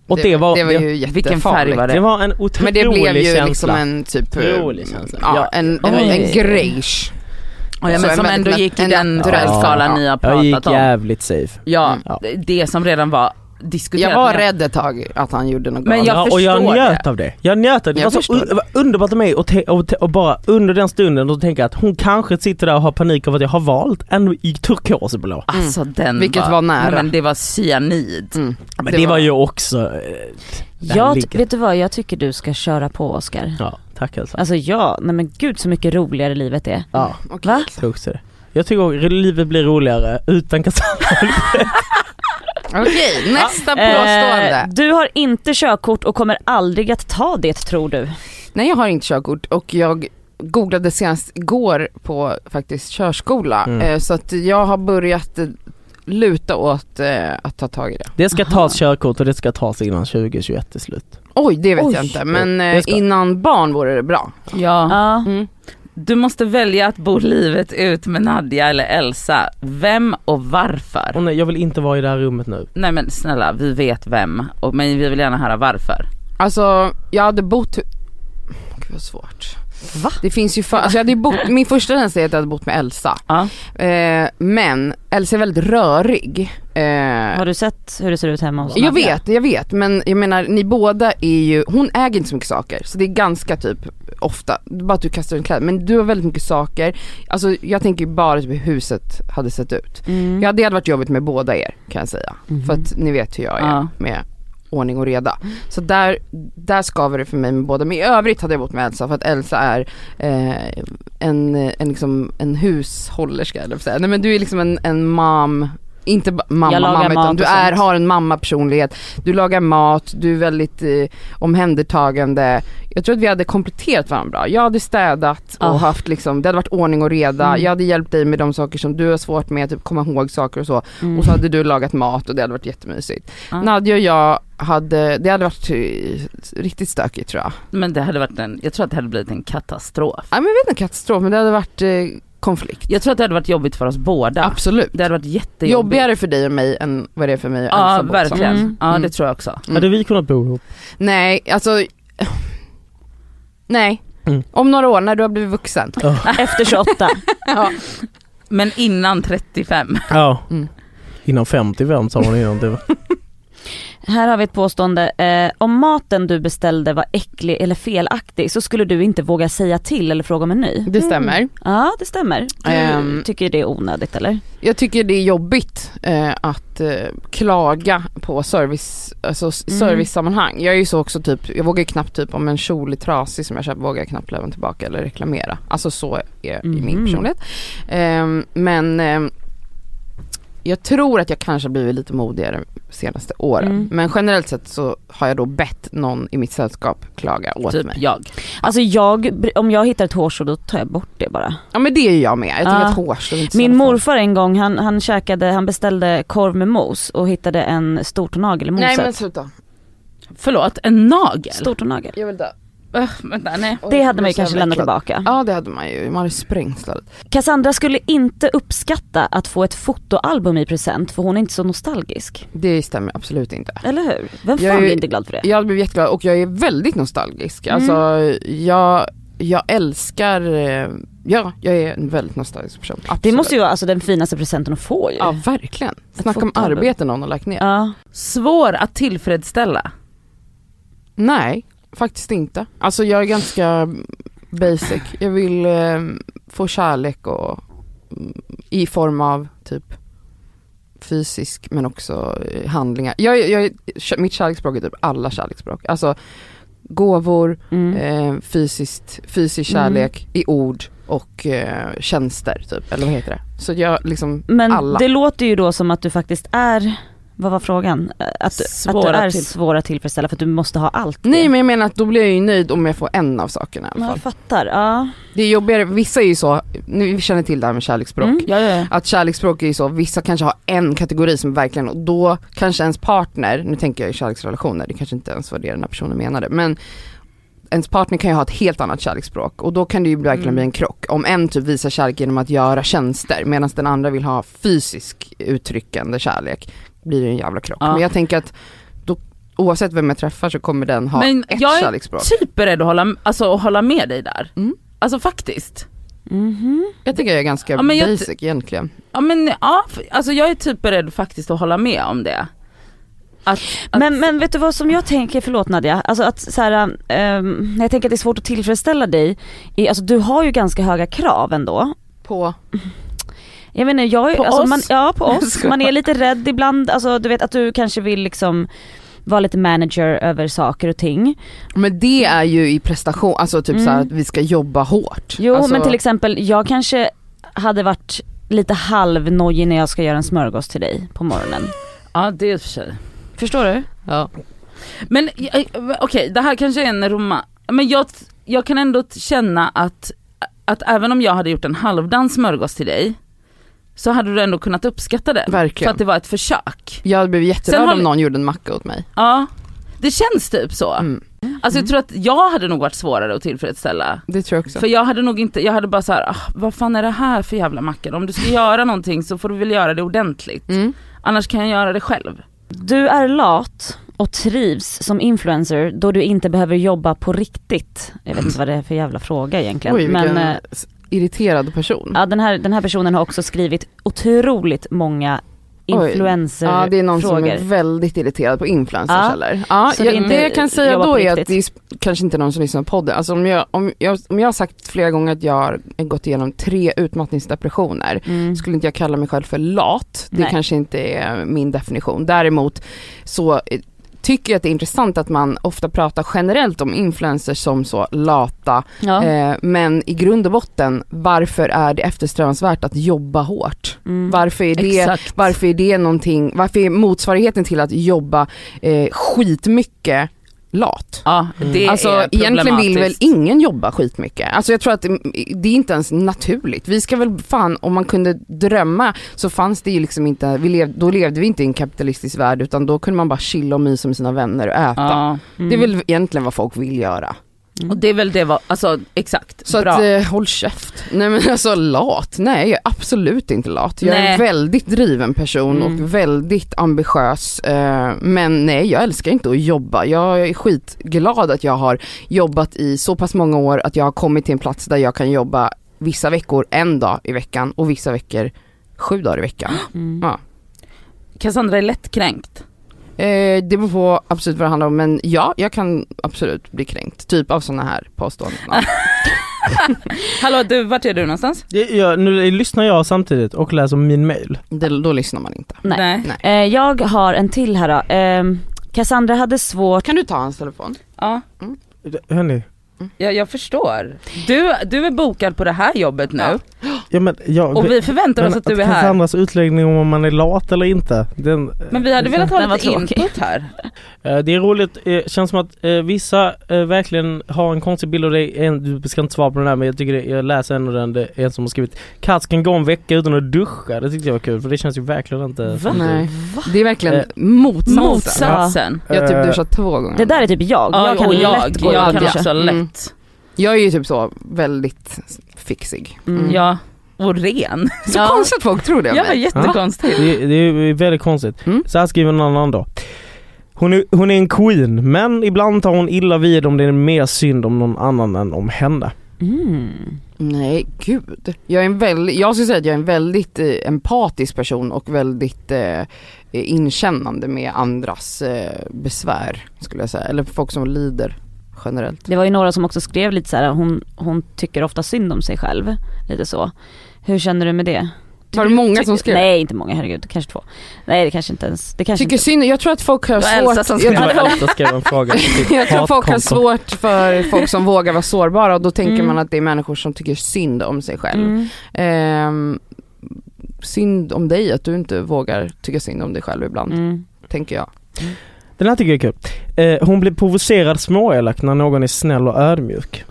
Och det, var, det var ju Vilken färg var jättefarligt. det? det var en otrolig Men det blev ju känsla. liksom en typ, eh, Otrolig känsla. ja Ja. en, Oj. en, en grejs. Och jag, Så men, en som väldigt ändå nat- gick i en den naturell färgskalan skala. ni har Jag pratat gick om. jävligt safe. Ja, Ja. det- det som redan var diskuterat. Jag var men- rädd ett tag att han gjorde något Men galet. jag ja, och jag förstår njöt av det. Jag njöt av det. Det Jag var så förstår un- det var underbart av mig att te- och te- och bara under den stunden och tänka att hon kanske sitter där och har panik över att jag har valt en i turkosblå. Alltså den Vilket var nära. Men det var cyanid. Mm. Men det, var ju också... eh, det här Jag, ligger. vet du vad, jag tycker du ska köra på Oscar. Ja, tack Elsa. Alltså ja, nej men gud så mycket roligare livet är. Ja, Okej, Va? jag tror också det. Jag tycker att livet blir roligare utan Cassandra. Okej, nästa Eh, påstående. du har inte körkort och kommer aldrig att ta det tror du. Nej jag har inte körkort och jag googlade senast igår på faktiskt körskola. Mm. Eh, Så att jag har börjat eh, luta åt eh, att ta tag i det. Det ska Aha. tas körkort och det ska tas innan 2021 är slut. Oj, det vet Oj. jag inte. Men Det eh, ska- innan barn vore det bra. Ja. Ja. Du måste välja att bo livet ut med Nadja eller Elsa. Vem och varför? Och nej, jag vill inte vara i det här rummet nu. Nej men snälla, vi vet vem. Och, men vi vill gärna höra varför. Alltså jag hade bott... Gud vad svårt. Va? Det finns ju för... alltså, jag hade ju bott... Min första känsla är att jag hade bott med Elsa. Ja. Eh, men Elsa är väldigt rörig. Eh, Har du sett hur det ser ut hemma hos Jag Nadja? vet, jag vet. Men jag menar ni båda är ju, hon äger inte så mycket saker. Så det är ganska typ ofta, bara att du kastar en kläder. Men du har väldigt mycket saker. Alltså jag tänker ju bara typ hur huset hade sett ut. Mm. Ja det hade varit jobbigt med båda er kan jag säga. Mm-hmm. För att ni vet hur jag är Ja. med ordning och reda. Så där, där skaver det för mig med båda. Men i övrigt hade jag bott med Elsa för att Elsa är eh, en, en, liksom, en hushållerska eller vad säga. Nej men du är liksom en, en mam, inte ba- mamma, Jag lagar mamma utan mat du och är, sånt. har en mammapersonlighet. Du lagar mat, du är väldigt eh, omhändertagande. Jag tror att vi hade kompletterat varandra bra. Jag hade städat och Ah. Mm. haft liksom, det hade varit ordning och reda. Jag hade hjälpt dig med de saker som du har svårt med, typ komma ihåg saker och så. Mm. Och så hade du lagat mat och det hade varit jättemysigt. Ja. Nadja och jag hade, det hade varit eh, riktigt stökigt tror jag. Men det hade varit en, jag tror att det hade blivit en katastrof. Nej men jag vet inte katastrof men det hade varit eh, konflikt. Jag tror att det hade varit jobbigt för oss båda. Absolut. Det hade varit jättejobbigt. Jobbigare för dig och mig än vad det är för mig och Ja Elsa Botsson. verkligen. Mm. Ja det Mm. tror jag också. Mm. Hade vi kunnat bo ihop? Nej, alltså Nej. Mm. Om några år när du har blivit vuxen. Efter 28. Men innan 35. Ja. Mm. Innan 55 sa hon innan du. Här har vi ett påstående. Eh, om maten du beställde var äcklig eller felaktig så skulle du inte våga säga till eller fråga om en ny. Mm. Det stämmer. Ja det stämmer. Du Ehm. tycker det är onödigt eller? Jag tycker det är jobbigt eh, att eh, klaga på service, alltså s- Mm. servicesammanhang. Jag är ju så också typ, jag vågar ju knappt typ om en kjol är trasig som jag köper vågar jag knappt lämna tillbaka eller reklamera. Alltså så är det i min Mhm. personlighet. Ehm, men ehm, jag tror att jag kanske har blivit lite modigare de senaste åren. Mm. Men generellt sett så har jag då bett någon i mitt sällskap klaga åt Typ mig. jag. Alltså jag, om jag hittar ett hårstrå då tar jag bort det bara. Ja men det är ju jag med. Jag tycker Ah. att hårstrå är inte så Min jävla morfar en gång, han, han käkade, han beställde korv med mos och hittade en stortånagel i farligt. moset. Nej men sluta, Förlåt, en nagel? Stortånagel. jag vill dö. Öh, Äh, vänta, nej. Oj, Det jag hade blir man ju så jävla kanske lämnat äcklad. tillbaka. Ja det hade man ju, man hade sprängt stället. Cassandra skulle inte uppskatta att få ett fotoalbum i present för hon är inte så nostalgisk. Det stämmer absolut inte. Eller hur? Vem Jag fan är- blir inte glad för det? Jag blev jätteglad och jag är väldigt nostalgisk. Mm. Alltså jag, jag älskar, eh, ja jag är en väldigt nostalgisk person. Absolut. Det måste ju vara alltså, den finaste presenten att få ju. Ja verkligen. Snacka om fotoalbum. arbete någon har lagt ner. Ja. Svår att tillfredsställa. Nej, faktiskt inte. Alltså jag är ganska basic. Jag vill eh, få kärlek och mm, i form av typ fysisk men också eh, handlingar. Jag, jag, mitt kärleksspråk är typ alla kärleksspråk. Alltså gåvor, Mm. eh, fysiskt, fysisk Mm. kärlek i ord och eh, tjänster typ, eller vad heter det? Så jag liksom, Men alla. det låter ju då som att du faktiskt är, vad var frågan? Eh, Att, du- att du Svåra är till- svår att tillfredsställa för att du måste ha allt det. nej men jag menar att då blir jag ju nöjd om jag får en av sakerna i alla Ja, fall. Jag fattar, ja. Det är jobbigare, vissa är ju så, ni känner till det här med kärleksspråk. Mm. Ja, ja, ja. Att kärleksspråk är ju så, vissa kanske har en kategori som verkligen, och då kanske ens partner, nu tänker jag i kärleksrelationer, det kanske inte ens var det den här personen menade, men ens partner kan ju ha ett helt annat kärleksspråk och då kan det ju verkligen Mm. bli en krock. Om en typ visar kärlek genom att göra tjänster medan den andra vill ha fysisk uttryckande kärlek, blir det ju en jävla krock. Ja. Men jag tänker att då, oavsett vem jag träffar så kommer den ha Men ett jag är kärleksspråk. Typ beredd att hålla, alltså, att hålla med dig där. Mm. Alltså faktiskt. Mhm. Jag tycker jag är ganska Ja, men jag- basic egentligen. Ja men ja, f- alltså jag är typ beredd faktiskt att hålla med om det. Att, att, Men, men vet du vad som jag tänker, förlåt Nadja, alltså att så här, ehm, jag tänker att det är svårt att tillfredsställa dig, i, alltså du har ju ganska höga krav ändå. På Jag menar, jag, På alltså, oss? Man, ja på Jag oss, skojar. man är lite rädd ibland, alltså du vet att du kanske vill liksom vara lite manager över saker och ting. Men det är ju i prestation, alltså typ Mm. så här att vi ska jobba hårt. Jo alltså, men till exempel, jag kanske hade varit lite halvnojig när jag ska göra en smörgås till dig på morgonen. ja det är i och för sig. Förstår du? Ja. Men eh, eh, okej, det här kanske är en roma... Men jag, jag kan ändå t- känna att, att även om jag hade gjort en halvdan smörgås till dig så hade du ändå kunnat uppskatta den. För Verkligen. att det var ett försök. Jag blev Sen jätterörd har om vi- någon gjorde en macka åt mig. Ja, det känns typ så. Mm. Alltså jag tror att jag hade nog varit svårare att tillfredsställa. Det tror jag också. För jag hade nog inte, jag hade bara så här, ah, vad fan är det här för jävla macka? Om du ska göra någonting så får du väl göra det ordentligt. Mm. Annars kan jag göra det själv. Du är lat och trivs som influencer då du inte behöver jobba på riktigt. Jag vet inte vad det är för jävla fråga egentligen. Oj vilken Men eh, s- irriterad person. ja, den, här, den här personen har också skrivit otroligt många Oj. influencerfrågor. Ja det är någon som är väldigt irriterad på influencers Ja. eller? Ja, Så jag, det det, är inte jag kan säga jobba på då är att riktigt. det är sp- kanske inte någon som lyssnar på podden. Alltså om jag, om, jag, om jag har sagt flera gånger att jag har gått igenom tre utmattningsdepressioner Mm. skulle inte jag kalla mig själv för lat. Det Nej. kanske inte är min definition. Däremot så eh, tycker jag att det är intressant att man ofta pratar generellt om influencers som så lata. Ja. Eh, men i grund och botten, varför är det eftersträvansvärt att jobba hårt? Mm. Varför är det Exakt. varför är det någonting, varför är motsvarigheten till att jobba eh, skitmycket lat? Ja, det alltså är egentligen vill väl problematiskt. ingen jobba skitmycket. Alltså jag tror att det, det är inte ens naturligt. Vi ska väl fan, om man kunde drömma så fanns det ju liksom inte, vi lev, då levde vi inte i en kapitalistisk värld utan då kunde man bara chilla och mysa med sina vänner och äta. Ja. Det är väl egentligen vad folk vill göra. Och det är väl det, vad- alltså exakt. Så Bra. att, eh, håll käft. Nej men alltså lat, nej jag är absolut inte lat. Jag är Nej. Mm. en väldigt driven person och väldigt ambitiös. Eh, men nej jag älskar inte att jobba. Jag är skitglad att jag har jobbat i så pass många år att jag har kommit till en plats där jag kan jobba vissa veckor en dag i veckan och vissa veckor sju dagar i veckan. Mm. Cassandra är lättkränkt. Eh, det beror på absolut vad det handlar om men ja, jag kan absolut bli kränkt. Typ av sådana här påståenden. Hallå du, vart är du någonstans? Det, jag, nu lyssnar jag samtidigt och läser min mail. Det, då lyssnar man inte. Nej. Eh, jag har en till här då. Ehm, Cassandra hade svårt, Kan du ta hans telefon? Ja, Hörni, jag, jag förstår. Du, du är bokad på det här jobbet nu Ja. ja men jag... och vi förväntar oss men att du är här. Cassandras utläggning om om man är lat eller inte, den... Men vi hade velat ha Den var lite tråkig. input här. Eh, Det är roligt, eh, känns som att eh, vissa eh, verkligen har en konstig bild av dig, En- du ska inte svara på den här men jag tycker det, jag läser ändå den, det är en som har skrivit Katt kan gå en vecka utan att duscha, det tyckte jag var kul för det känns ju verkligen inte som du. Nej. Det är verkligen Eh, motsatsen. Motsatsen. Jag typ Eh, duschar två gånger. det där är typ jag, Ja, jag kan och lätt gå jag och kan duscha. också lätt. Mm. Jag är ju typ så väldigt fixig. Mm. Ja, och ren. Så konstigt att folk tror det om Ja, mig. jättekonstigt. Det, det är väldigt konstigt. Mm. Så här skriver en annan då. Hon är, hon är en queen men ibland tar hon illa vid om det är mer synd om någon annan än om henne. Mm. Nej gud. Jag, är en väldigt, jag skulle säga att jag är en väldigt eh, empatisk person och väldigt eh, inkännande med andras eh, besvär skulle jag säga. Eller folk som lider generellt. Det var ju några som också skrev lite så här, hon, hon tycker ofta synd om sig själv. Lite så. Hur känner du med det? Var det många som skrev? Nej inte många, herregud. Kanske två. Nej det kanske inte ens, det kanske Tycker inte. synd, jag tror att folk har Det var Elsa svårt, som jag skrev. tror Det att var folk Elsa skrev en fråga. till sitt Jag tror folk har hatkonto. svårt för folk som vågar vara sårbara och då tänker Mm. man att det är människor som tycker synd om sig själv. Mm. Ehm, synd om dig att du inte vågar tycka synd om dig själv ibland, Mm. tänker jag. Den här tycker jag är kul. Eh, hon blir provocerad småelak när någon är snäll och ödmjuk.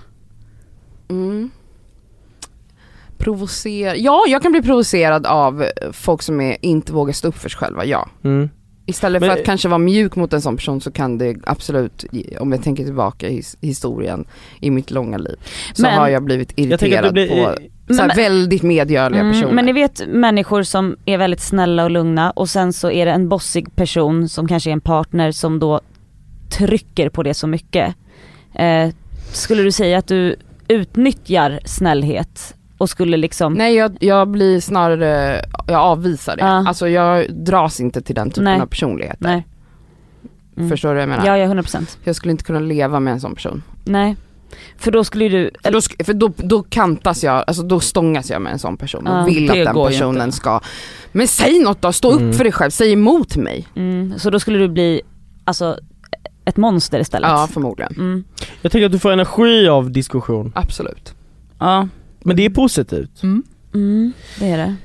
Mm. Provocer- ja, jag kan bli provocerad av eh, folk som är, inte vågar stå upp för sig själva, ja. Mm. Istället Men- för att kanske vara mjuk mot en sån person så kan det absolut, om jag tänker tillbaka i his- historien i mitt långa liv, så Men- har jag blivit Jag tänker att det irriterad blir... på så här, Men- väldigt medgörliga personer. Mm, men ni vet människor som är väldigt snälla och lugna och sen så är det en bossig person som kanske är en partner som då trycker på det så mycket. Eh, skulle du säga att du utnyttjar snällhet och skulle liksom Nej jag, jag blir snarare, jag avvisar det. Ja. Alltså jag dras inte till den typen Nej. av personligheter. Nej. Mm. Förstår du vad jag menar? Ja, ja 100%. Jag skulle inte kunna leva med en sån person. Nej. För då skulle ju du, För då, sk- för då, då kantas jag, alltså då stångas jag med en sån person och Ja. vill Det att den går ju personen inte. ska, men säg något då, stå Mm. upp för dig själv, säg emot mig. mm, så då skulle du bli alltså ett monster istället. Ja förmodligen, Mm. Jag tänker att du får energi av diskussion. absolut. Ja. Men det är positivt. Mm, det är det.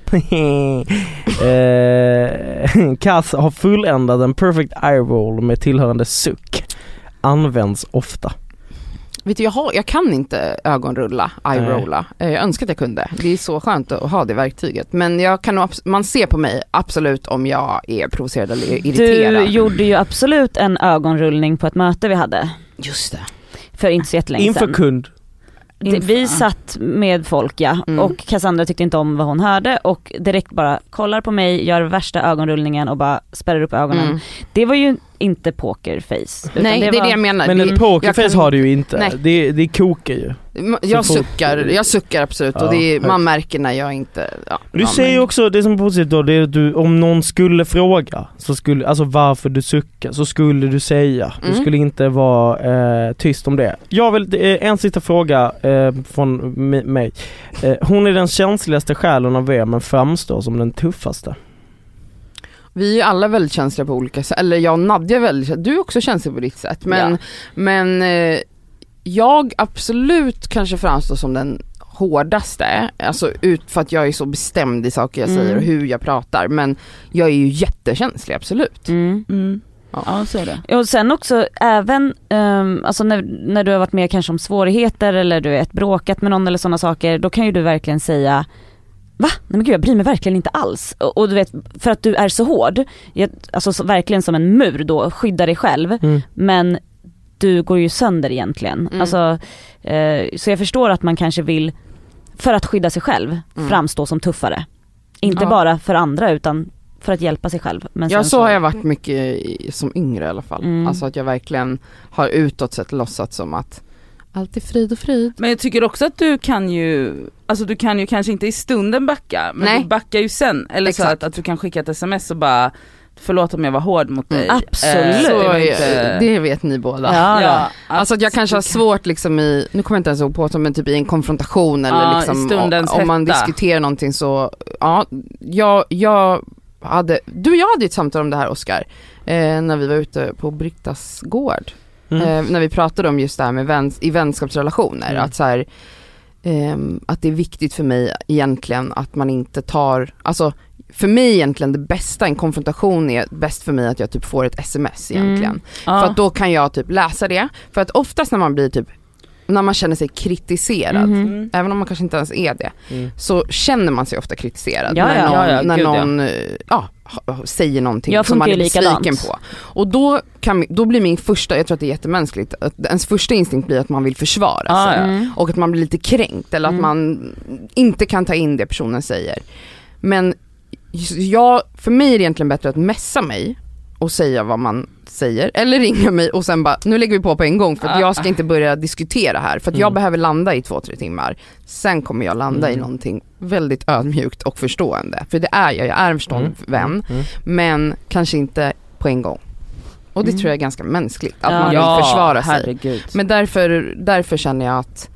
eh, Kass har fulländat en perfect eye roll med tillhörande suck. Används ofta. Vet du, jag, har, jag kan inte ögonrulla, Nej. eye-rolla. Eh, Jag önskar att jag kunde. Det är så skönt att ha det verktyget. Men jag kan, nog abs- man ser på mig absolut om jag är provocerad eller är Du irriterad. gjorde ju absolut en ögonrullning på ett möte vi hade Just det. för inte så jättelänge Inför sedan. kund. Det- Vi Inför. satt med folk ja, Mm. och Cassandra tyckte inte om vad hon hörde och direkt bara kollar på mig, gör värsta ögonrullningen och bara spärrar upp ögonen. Mm. Det var ju inte pokerface. utan Nej, det, är var- det jag menar. Men det, en pokerface jag kan- har du ju inte. Nej. Det, det kokar ju. Ma- Jag Så folk- suckar, jag suckar absolut Ja, och det är, högt. man märker när jag inte... Ja, Du ja, säger ju men- också, det som är positivt då, det är att du, om någon skulle fråga, så skulle, alltså varför du suckar, så skulle du säga. Du Mm. skulle inte vara eh, tyst om det. Jag vill, eh, en sista fråga eh, från mi- mig. Eh, hon är den känsligaste själen av er men framstår som den tuffaste. Vi är ju alla väldigt känsliga på olika sätt, eller jag och Nadja är väldigt känsliga. du är också känslig på ditt sätt. Men, Ja. men eh, jag absolut kanske framstår som den hårdaste, alltså ut för att jag är så bestämd i saker jag Mm. säger och hur jag pratar. Men jag är ju jättekänslig, absolut. Mm. Mm. Ja. Ja så är det. Och sen också även ehm, alltså när, när du har varit med kanske om svårigheter eller du vet bråkat med någon eller sådana saker, då kan ju du verkligen säga Va? Nej men gud jag bryr mig verkligen inte alls. Och, och du vet, för att du är så hård, jag, alltså så, verkligen som en mur då, skyddar dig själv. Mm. Men du går ju sönder egentligen. Mm. Alltså, eh, så jag förstår att man kanske vill, för att skydda sig själv, Mm. framstå som tuffare. Inte Ja. bara för andra utan för att hjälpa sig själv. Men Ja sen så har jag varit mycket i, som yngre i alla fall. Mm. Alltså att jag verkligen har utåt sett låtsats som att allt är frid och frid. Men jag tycker också att du kan ju, alltså du kan ju kanske inte i stunden backa, men Nej. du backar ju sen. Eller så Exakt. att, att du kan skicka ett sms och bara Förlåt om jag var hård mot dig. Mm, absolut. Eh, Så det var är- inte- det vet ni båda. Ja, Ja, ja. Alltså att jag kanske har du svårt liksom i, nu kommer jag inte ens ihåg på det, men typ i en konfrontation eller Ja, i liksom stundens om, om man hetta. diskuterar någonting så, ja, jag, jag hade, du och jag hade ju ett samtal om det här Oskar, eh, när vi var ute på Brittas gård. Mm. Eh, när vi pratade om just det här med väns- i vänskapsrelationer, Mm. att så här, ehm, att det är viktigt för mig egentligen att man inte tar, alltså för mig egentligen det bästa, en konfrontation är bäst för mig att jag typ får ett sms egentligen. Mm. Ja. För att då kan jag typ läsa det. För att oftast när man blir typ, när man känner sig kritiserad, Mhm. Mm. även om man kanske inte ens är det, Mm. så känner man sig ofta kritiserad Ja, när ja. någon, Ja, ja, när gud, ja. någon eh, ja. ha- säger någonting Jag som man är funkar ju besviken likadant. på. Och då, kan, då blir min första, jag tror att det är jättemänskligt, att ens första instinkt blir att man vill försvara Ja, sig. ja. Mm. Och att man blir lite kränkt eller att Mm. man inte kan ta in det personen säger. Men jag, för mig är det egentligen bättre att messa mig och säga vad man säger eller ringa mig och sen bara, nu lägger vi på på en gång för att Ah. jag ska inte börja diskutera här för att jag Mm. behöver landa i två, tre timmar. Sen kommer jag landa i Mm. någonting väldigt ödmjukt och förstående. För det är jag, jag är en förstående Mm. vän Mm. men kanske inte på en gång. Och det Mm. tror jag är ganska mänskligt, att Ja. man vill försvara sig. herregud. Men därför, därför känner jag att,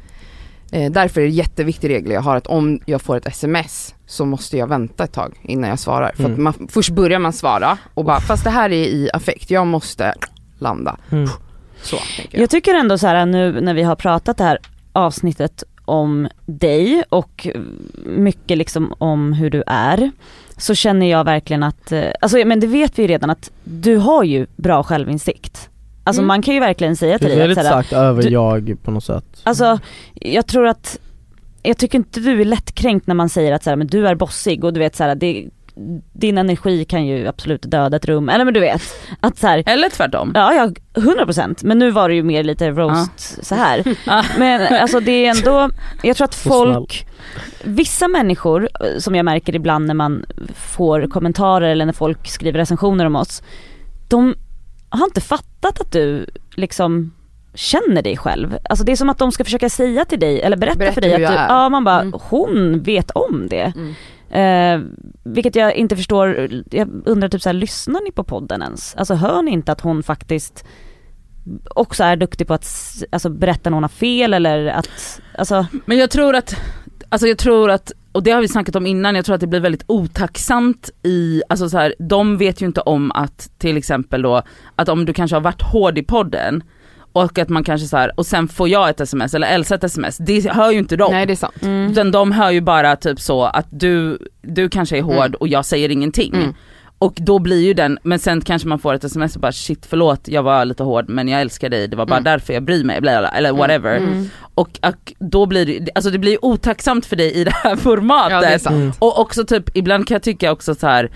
eh, därför är det en jätteviktig regel jag har att om jag får ett sms så måste jag vänta ett tag innan jag svarar. För att Mm. man, först börjar man svara och bara, fast det här är i affekt, jag måste landa. Mm. Så tänker jag. Jag tycker ändå så här nu när vi har pratat det här avsnittet om dig och mycket liksom om hur du är. Så känner jag verkligen att, eh, alltså men det vet vi ju redan att du har ju bra självinsikt. Alltså Mm. man kan ju verkligen säga Du till är dig att väldigt så här, starkt över du- jag på något sätt. Alltså jag tror att, jag tycker inte du är lättkränkt när man säger att så här, men du är bossig och du vet så här, det, din energi kan ju absolut döda ett rum. Eller men du vet, att så här, Eller tvärtom. Ja, ja 100% men nu var det ju mer lite roast så här. Ja. Men alltså det är ändå, jag tror att Så snäll. folk, vissa människor eh, som jag märker ibland när man får kommentarer eller när folk skriver recensioner om oss, de har inte fattat att du liksom känner dig själv. Alltså det är som att de ska försöka säga till dig eller berätta, Berätta för dig hur att du, jag är. ja man bara, Mm. hon vet om det. Mm. Eh, vilket jag inte förstår, jag undrar typ så här, lyssnar ni på podden ens? Alltså hör ni inte att hon faktiskt också är duktig på att s- alltså, berätta när hon har fel eller att, alltså Men jag tror att, alltså jag tror att, och det har vi snackat om innan, jag tror att det blir väldigt otacksamt i, alltså så här, de vet ju inte om att till exempel då, att om du kanske har varit hård i podden och att man kanske så här, och sen får jag ett sms eller Elsa ett sms, det hör ju inte de. Nej det är sant. Utan de hör ju bara typ så att du, du kanske är hård Mm. och jag säger ingenting. Mm. Och då blir ju den, men sen kanske man får ett sms och bara shit förlåt jag var lite hård men jag älskar dig, det var bara Mm. därför jag bryr mig, bla, bla, bla, eller whatever. Mm. Och, och då blir det, alltså det blir ju otacksamt för dig i det här formatet. Ja det är sant. Och också typ, ibland kan jag tycka också så här.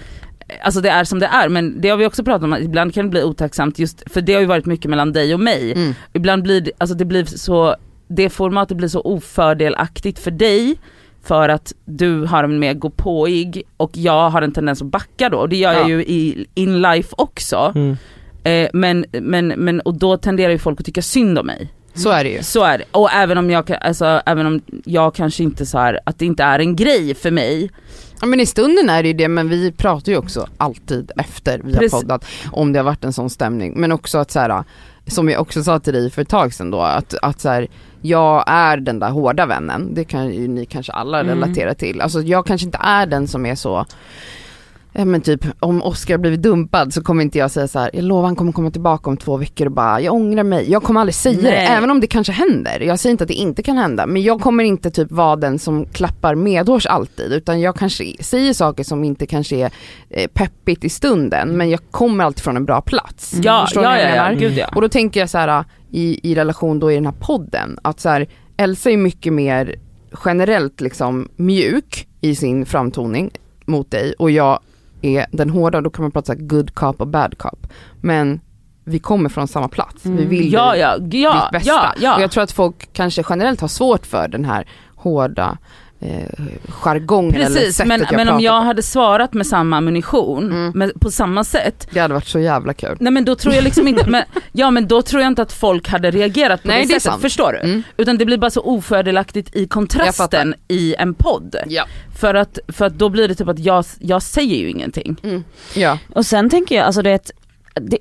Alltså det är som det är men det har vi också pratat om, att ibland kan det bli otacksamt just för det har ju varit mycket mellan dig och mig. Mm. Ibland blir det, alltså det blir så, det formatet blir så ofördelaktigt för dig för att du har en mer gåpåig och jag har en tendens att backa då och det gör jag Ja. ju i in life också. Mm. Eh, men, men, men och då tenderar ju folk att tycka synd om mig. Så är det ju. Så är det. Och även om jag, kan- alltså, även om jag kanske inte så här, att det inte är en grej för mig Ja, men i stunden är det ju det, men vi pratar ju också alltid efter vi har Precis. poddat om det har varit en sån stämning. Men också att så här, som jag också sa till dig för ett tag sedan då, att, att så här, jag är den där hårda vännen, det kan ju ni kanske alla Mm. relatera till. Alltså jag kanske inte är den som är så Ja men typ om Oscar blivit dumpad så kommer inte jag säga så här, jag lovar han kommer komma tillbaka om två veckor och bara jag ångrar mig. Jag kommer aldrig säga det, Nej. även om det kanske händer. Jag säger inte att det inte kan hända, men jag kommer inte typ vara den som klappar medhårs alltid. Utan jag kanske säger saker som inte kanske är eh, peppigt i stunden, men jag kommer alltid från en bra plats. Ja, Förstår ni ja, vad jag ja, ja, menar? gud ja. Och då tänker jag så här i, i relation då i den här podden, att så här, Elsa är mycket mer generellt liksom mjuk i sin framtoning mot dig och jag är den hårda och då kan man prata så här good cop och bad cop. Men vi kommer från samma plats, vi Mm. vill Ja, ja, dig ja, ditt bästa. ja, Och ja. jag tror att folk kanske generellt har svårt för den här hårda eh, jargongen eller Precis, sättet men, jag men pratar om jag på. hade svarat med samma ammunition, Mm. men på samma sätt, Det hade varit så jävla kul. nej men då tror jag liksom inte, men, ja men då tror jag inte att folk hade reagerat på Nej, det, det är sättet, sant. förstår du? Mm. Utan det blir bara så ofördelaktigt i Jag fattar. kontrasten i en podd. Ja. För att, för att då blir det typ att jag, jag säger ju ingenting. Mm. Ja. Och sen tänker jag, alltså du vet, det,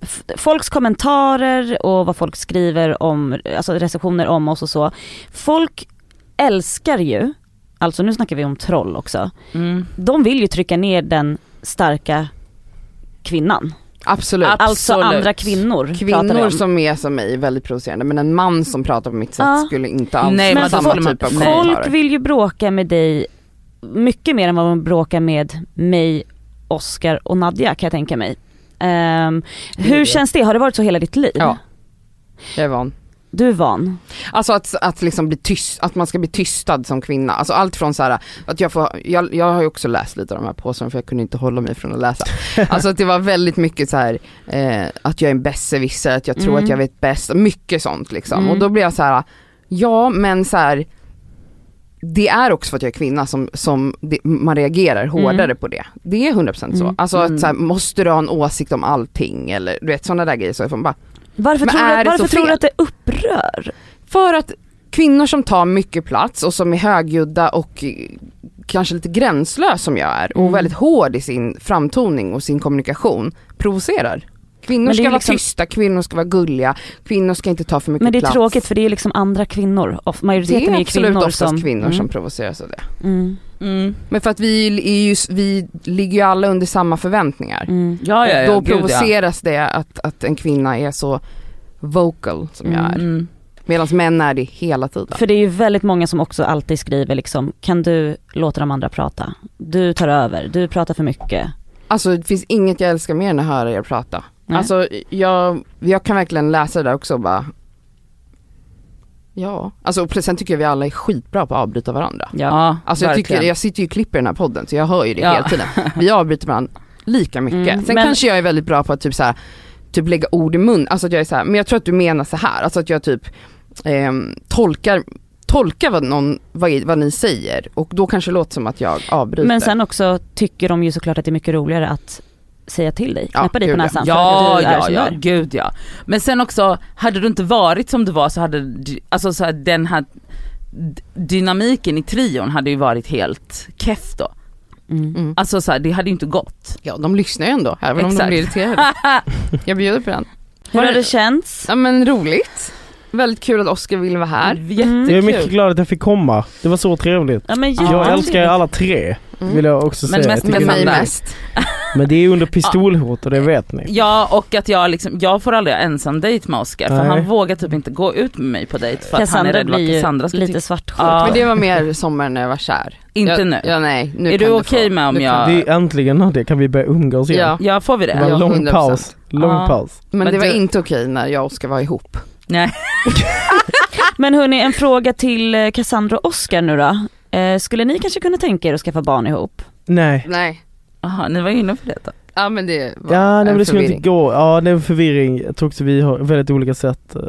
f- folks kommentarer och vad folk skriver om, alltså recensioner om oss och så. Folk älskar ju, alltså nu snackar vi om troll också, Mm. de vill ju trycka ner den starka kvinnan. Absolut. Ab- Alltså Absolut. andra kvinnor. pratar vi Kvinnor om. som är som mig, väldigt provocerande, men en man som pratar på mitt sätt Ja. alltså skulle inte alls Nej, få men samma då skulle typ av man- nej. kommentarer. Folk vill ju bråka med dig mycket mer än vad de bråkar med mig, Oscar och Nadja kan jag tänka mig. Ehm, hur känns det? Har det varit så hela ditt liv? Ja. Jag är van. Du är van. Alltså att, att, liksom bli tyst, att man ska bli tystad som kvinna. Alltså allt från så här, att jag får, jag, jag har ju också läst lite av de här påsarna för jag kunde inte hålla mig från att läsa. Alltså att det var väldigt mycket så här, eh, att jag är en besserwisser, att jag tror Mm. att jag vet bäst, mycket sånt liksom. Mm. Och då blir jag så här, ja men så här, det är också för att jag är kvinna som, som det, man reagerar hårdare Mm. på det. Det är 100% så. Mm. Alltså Mm. att så här, måste du ha en åsikt om allting eller du vet sådana där grejer. Så jag får bara, Varför, Men tror är du, det varför så tror du fel? att det upprör? För att kvinnor som tar mycket plats och som är högljudda och eh, kanske lite gränslös som jag är Mm. och väldigt hård i sin framtoning och sin kommunikation provocerar. Kvinnor Men det är ska vara liksom- tysta, kvinnor ska vara gulliga, kvinnor ska inte ta för mycket Men det är plats. tråkigt för det är liksom andra kvinnor. Of- Det Majoriteten är, är ju absolut kvinnor oftast som... kvinnor som Mm, provoceras av det. Mm. Mm. Men för att vi, är ju, vi ligger ju alla under samma förväntningar. Mm. Ja, ja, ja, Då gud, ja. provoceras det att, att en kvinna är så vocal som jag är. Mm. Medan män är det hela tiden. För det är ju väldigt många som också alltid skriver liksom, kan du låta de andra prata? Du tar över, du pratar för mycket. Alltså det finns inget jag älskar mer än att höra er prata. Nej. Alltså jag, jag kan verkligen läsa det där också och bara Ja, alltså och sen tycker jag vi alla är skitbra på att avbryta varandra. Ja. Ja, Alltså jag, tycker, verkligen. jag sitter ju och klipper i den här podden så jag hör ju det Ja. hela tiden. Vi avbryter varandra lika mycket. Mm, Sen men- kanske jag är väldigt bra på att typ så här, typ lägga ord i mun. Alltså att jag är så här, men jag tror att du menar så här. Alltså att jag typ ehm, tolkar, tolkar vad, någon, vad, vad ni säger och då kanske det låter som att jag avbryter. Men sen också tycker de ju såklart att det är mycket roligare att säga till dig, Ja, knäppa dig gud, på ja. näsan för Ja, att du är ja, som ja, du är. gud ja. Men sen också, hade du inte varit som du var så hade du- alltså så här, den här d- dynamiken i trion hade ju varit helt keff då. Mm. Mm. Alltså så här, det hade ju inte gått. Ja, de lyssnar ju ändå, även om de Exakt. blir irriterade. Jag bjuder på den. Hur har det känts? Ja men roligt. Väldigt kul att Oskar ville vara här. Mm. Jättekul. Jag är mycket glad att jag fick komma. Det var så trevligt. Ja, men Jag jättetrevligt. älskar er alla tre, Mm. vill jag också Men säga. mest Jag Med tycker- mig Sandra. mest. Men det är under pistolhot och det vet ni. Ja och att jag liksom, jag får aldrig ha ensam dejt med Oscar för Nej. han vågar typ inte gå ut med mig på dejt för att han är Cassandra rädd vad blir Cassandra ska ju lite, lite svartsjuk. Ja. Men det var mer sommaren när jag var kär. Inte jag, nu. Ja nej. Nu Är kan du få- okej med om nu kan jag- Det är äntligen när det kan vi börja umgås igen. Ja, Ja får vi Det det? var Ja, en lång 100%. paus. Lång Ja. paus. men, Men det var du- inte okej när jag och Oskar var ihop. Men hörni, en fråga till eh, Cassandra och Oscar nu då. Eh, skulle ni kanske kunna tänka er att skaffa barn ihop? Nej. Nej. Jaha, ni var inne på det då. Ja men det var Ja, nej, en men det skulle förvirring. inte gå. Ja, det är en förvirring. Jag tror också vi har väldigt olika sätt eh,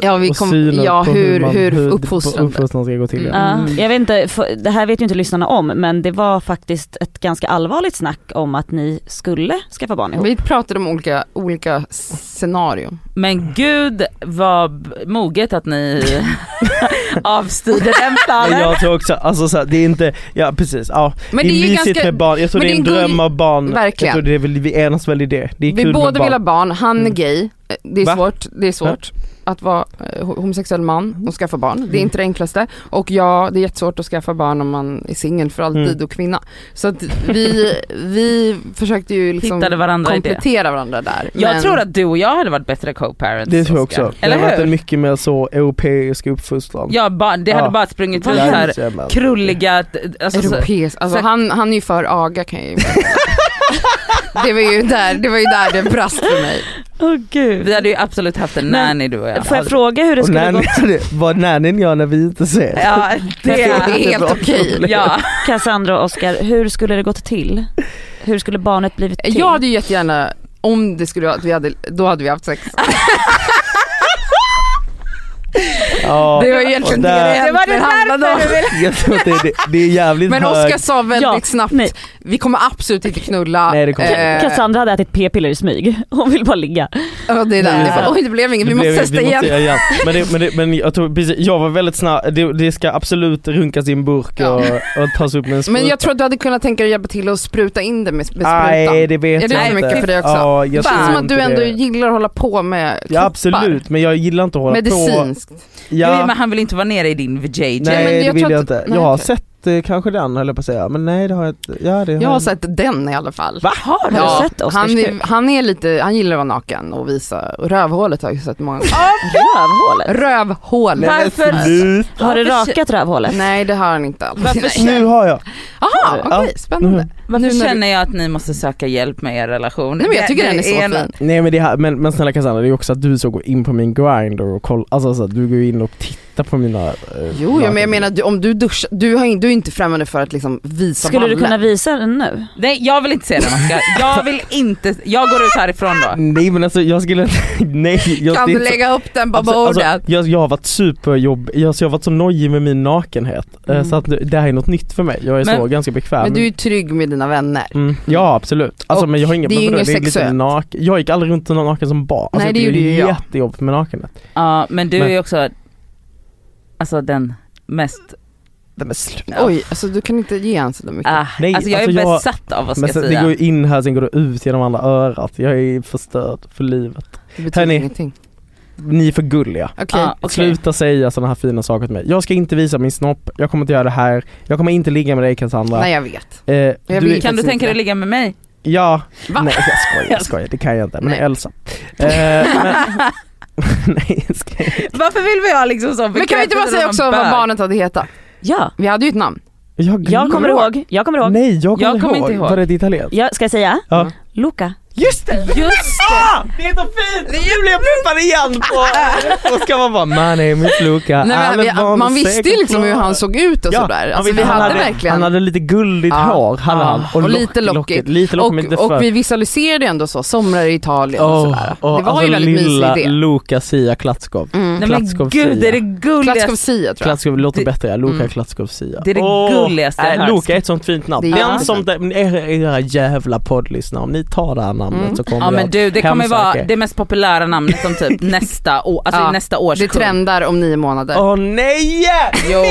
Ja, vi och kom, syner ja på hur, man- hur, på uppfostrande. uppfostran ska gå till. Ja. Mm. Ja, jag vet inte, för- det här vet ju inte lyssnarna om men det var faktiskt ett ganska allvarligt snack om att ni skulle skaffa barn ihop. Vi pratade om olika, olika scenarion. Men gud vad b- moget att ni avstyrde den Men planen. jag tror också, alltså så här, det är inte, ja precis, ja. Men det är ju mysigt ganska, med barn, jag tror men det är en det är en dröm gull- av barn. Jag Verkligen. tror det är väl, vi enas väl i det. Det är vi kul med båda barn. vill ha barn, han är Mm. gay, Eh, det är Va? Mm. svårt, det är svårt att vara eh, ho- homosexuell man och skaffa barn, det är inte det enklaste. Och ja, det är jättesvårt att skaffa barn om man är singel för alltid Mm. och kvinna. Så att vi, vi försökte ju liksom Hittade varandra i det. komplettera varandra där. Jag men- tror att du och jag hade varit bättre co-parents. Det tror jag Oscar. också. Eller det har varit en hur? mycket mer så europeisk uppfostran. Ja, ba, det hade Ja. bara sprungit Det ut är så här så jävla- krulliga, t- alltså, så, Europeisk, alltså så- han, han är ju för aga kan jag ju Det var ju där det, var ju där det brast för mig. Åh gud. vi hade ju absolut haft en Men- nanny du och jag. Får jag fråga hur det alltså- skulle Och gå? nannyn, vad nannyn gör när vi inte ses. Ja, Det det, är helt okej. ja. Cassandra och Oscar, hur skulle det gått till? Hur skulle barnet blivit till? Jag hade ju jättegärna, om det skulle vara att vi hade, då hade vi haft sex. Ja. Det var ju egentligen Och det där- det var det handlade om. Jag tror att det, det, det är jävligt Men hög... Oskar sa väldigt Ja, snabbt, nej. vi kommer absolut inte knulla. Nej, det kommer vi inte. Eh, Cassandra hade ätit p-piller i smyg, hon vill bara ligga. ja, det är den. Nej. Det är bara, Oj det blev inget, vi Det måste blev- testa vi igen. göra Men, det, men, det, men jag, tror, precis, jag var väldigt snabb, det, det ska absolut runkas i en burk Ja. och, och tas upp med en spruta. Men jag tror att du hade kunnat tänka dig att hjälpa till och spruta in det med, med sprutan. Nej det vet Är det jag för inte. mycket för dig också? Ja, jag det känns tror som att du inte ändå det. gillar att hålla på med kroppar. Ja absolut, men jag gillar inte att hålla på. Medicinskt. Jo, Ja, men han vill inte vara nere i din vajayjay. nej men jag det tror vill jag att- inte. nej, jag har okej. sett eh, kanske den höll jag på att säga, men nej det har jag inte. Ja, det har Jag har jag inte. sett den i alla fall. Va? Har du Ja, sett Oscars han, kuk? är, han är lite, han gillar att vara naken och visa, och rövhålet har jag ju sett många gånger. Rövhålet? Rövhålet! Nej, men Varför- slut. Har du rakat rövhålet? Nej det har han inte alls. Varför Nej. Nu har jag. Aha, okej, Ja. spännande. Varför Nu när känner jag att ni måste söka hjälp med er relation? Nej men jag tycker Det- den är det så en- fin. Nej men, det här, men, men snälla Cassandra, det är också att du så går in på min grinder och kollar, alltså så att du går in och tittar på mina... eh, Jo, ja, men jag nakenbilder. menar du, om du duschar, du, har, in- du är inte främmande för att liksom visa Skulle du ballen. kunna visa den nu? Nej jag vill inte se den Oskar. Jag vill inte, jag går ut härifrån Mm. då. Nej men alltså jag skulle nej, jag, Kan det är du inte så- lägga upp den på Absolut, bordet? alltså, jag, jag har varit superjobb, alltså, jag har varit så nojig med min nakenhet eh, så att det här är något nytt för mig. Jag är Men- så ganska bekväm. Mm. men du är ju trygg med dina vänner. Mm. Ja absolut, alltså, Och men jag har inga det är ju men vadå, inget det är lite sexuellt. naken. Jag gick aldrig runt naken som barn, alltså, Nej, det är gjorde ju jag. jättejobbigt med nakenhet. Ja men du Men- är också, alltså den mest, Nej, men sluta. Ja. Oj, alltså du kan inte ge han så där mycket. ah, Nej, alltså jag är alltså, jag- besatt av vad Men ska sen, jag det säga. går ju in här sen går det ut genom andra örat. Jag är förstörd för livet. det betyder hörni. Ah. ingenting. Ni är för gulliga. Okej, Ja, Ah, okej. Sluta säga sådana här fina saker till mig. Jag ska inte visa min snopp, jag kommer inte göra det här, jag kommer inte ligga med dig Cassandra. nej jag vet. Eh, du, vill- Kan du faktiskt tänka dig inte. ligga med mig? Ja, Va? nej jag skojar, jag skojar, det kan jag inte. Men Nej. Elsa. Eh, men, nej jag skojar. Varför vill vi ha liksom så Men kan vi inte bara bekräftelse säga av också en vad bög? barnet hade hetat? Ja, Vi hade ju ett namn. Jag, jag kommer ihåg. Jag kommer ihåg. Nej jag kommer, Jag kommer ihåg. inte ihåg. Var det ett italienskt? Jag ska jag säga? Ja. Luca. Just det! Just Ah, det är så fint! Nu blev jag peppad igen på... Och ska man bara my name is Luca. Nej, men, I'm a vi, man born visste ju second liksom hur floor. han såg ut och Ja, sådär. han Alltså, visste- vi han hade, hade- verkligen. Han hade lite gulligt Ja. hår hade Ja. han. Och lock- lite lockigt. Lite lockigt men inte och, för... och vi visualiserade ju ändå så, somrar i Italien och Åh, sådär. åh, det var alltså ju väldigt lilla mysig idé. Luca Sia Klatskov. Mm. Nej men Klatskov gud det Sia. är det gulligaste, Klatskov Sia tror jag. Klatskov låter Det- bättre, ja. Luca Mm. Klatskov Sia. det är det Åh, äh, gulligaste jag Nej, hört. Luca är ett sånt fint namn. Det är Den jättefint. som, de- era, era jävla poddlyssnare, om ni tar det här namnet Mm. så kommer Ja jag men du det kommer hemsöka vara er. det mest populära namnet om typ nästa år, alltså Ja, nästa års Det kung. trendar om nio månader. Åh nej! Jo.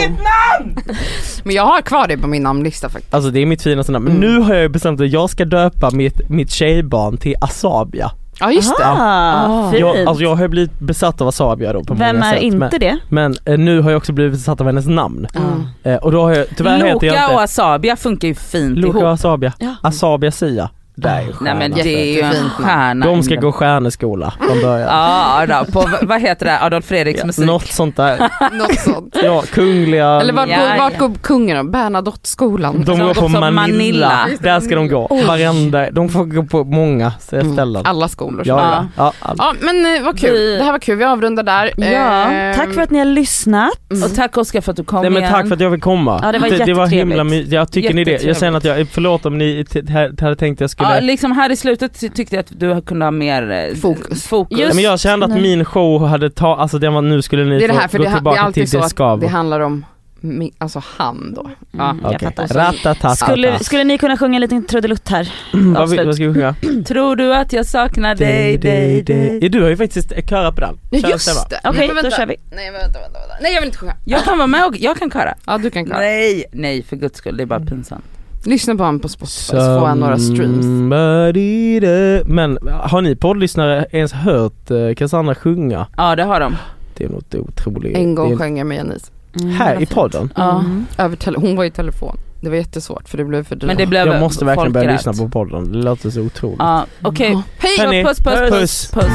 Men jag har kvar det på min namnlista faktiskt. Alltså det är mitt finaste namn, men Mm. nu har jag ju bestämt att jag ska döpa mitt, mitt tjejbarn till Asabia. Ja just det. Ah, fint. Jag, alltså jag har ju blivit besatt av Asabia då på Vem många är sätt. inte men, det? men eh, nu har jag också blivit besatt av hennes namn. Mm. Eh, och då har jag, tyvärr heter jag Loka inte och Asabia funkar ju fint Loka och ihop. Asabia. Ja. Asabia Sia. Det är ju Nej men stjärnan. det är ju en Jättefint namn. stjärna. De ska gå stjärneskola från början. Ja då, på vad heter det, Adolf Fredriks Ja, musik. Något sånt där. Något sånt. Ja, Mm. kungliga... Eller vart, Ja, går, vart ja. går kungen då? Bernadotte-skolan? De som går på också Manila. Manila. Där ska de gå. Varenda, de får gå på många ställen. Mm. Alla skolor. Ja, ja. ja all... Ja men eh, vad kul, Vi- det här var kul, vi avrundar där. Ja, Ehm, tack för att ni har lyssnat. Mm. Och tack Oskar för att du kom Nej men igen. tack för att jag fick komma. Ja, det var det var himla jättetrevligt. my- Jag tycker ni det. Jag känner att jag, förlåt om ni t- här- hade tänkt att jag skulle Ja, liksom här i slutet ty- tyckte jag att du kunde ha mer eh, Fokus. fokus. Nej, men jag kände att nej. min show hade ta, alltså den var nu skulle ni Det är det få här, för gå det, ha- det tillbaka är alltid till så det ska att det vara. handlar om min, alltså han då. Ja. Mm, jag Okej. fattar. Ratatata. Skulle, skulle ni kunna sjunga en liten trudelutt här? Mm, vad, vi- Avslut. vad ska vi sjunga? Tror du att jag saknar dig, dig, dig? Ja, Du har ju faktiskt ett körat på den. Ja Kör själva. just det. Okej, Men då vänta. kör vi. Nej vänta, vänta, vänta. Nej jag vill inte sjunga. Jag kan vara med och jag kan köra. Ja du kan klara. Nej, nej för guds skull, det är bara pinsamt. Lyssna på honom på Spotify så får han några streams. Somebody there. Men har ni poddlyssnare ens hört eh, Cassandra sjunga? Ja det har de. Det är något otroligt. En det gång är- sjöng jag med Janice. Här i podden? Ja. Över tele- hon var i telefon. Det var jättesvårt för det blev för dyrt. Men det blev Jag måste verkligen börja folkrätt. lyssna på podden, det låter så otroligt. Ja, okej. Ja. Hej! Så, Hörni, Puss, puss, puss. puss, puss.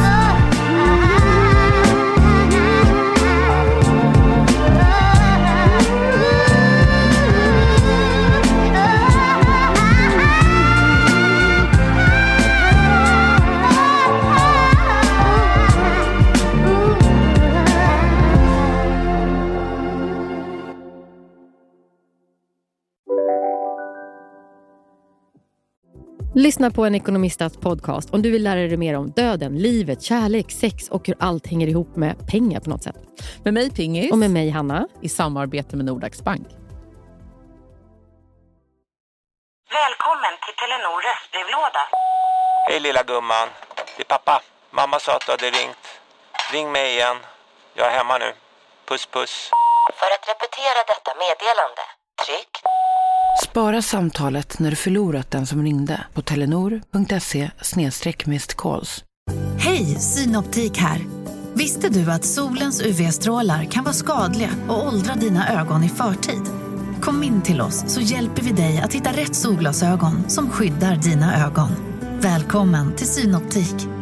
Lyssna på en ekonomistats podcast om du vill lära dig mer om döden, livet, kärlek, sex och hur allt hänger ihop med pengar på något sätt. Med mig Pingis, Och med mig Hanna. i samarbete med Nordax Bank. Välkommen till Telenor röstbrevlåda. Hej lilla gumman. Det är pappa. Mamma sa att du hade ringt. Ring mig igen. Jag är hemma nu. Puss puss. För att repetera detta meddelande, tryck Spara samtalet när du förlorat den som ringde på telenor.se calls. Hej, Synoptik här. Visste du att solens UV-strålar kan vara skadliga och åldra dina ögon i förtid? Kom in till oss så hjälper vi dig att hitta rätt solglasögon som skyddar dina ögon. Välkommen till Synoptik.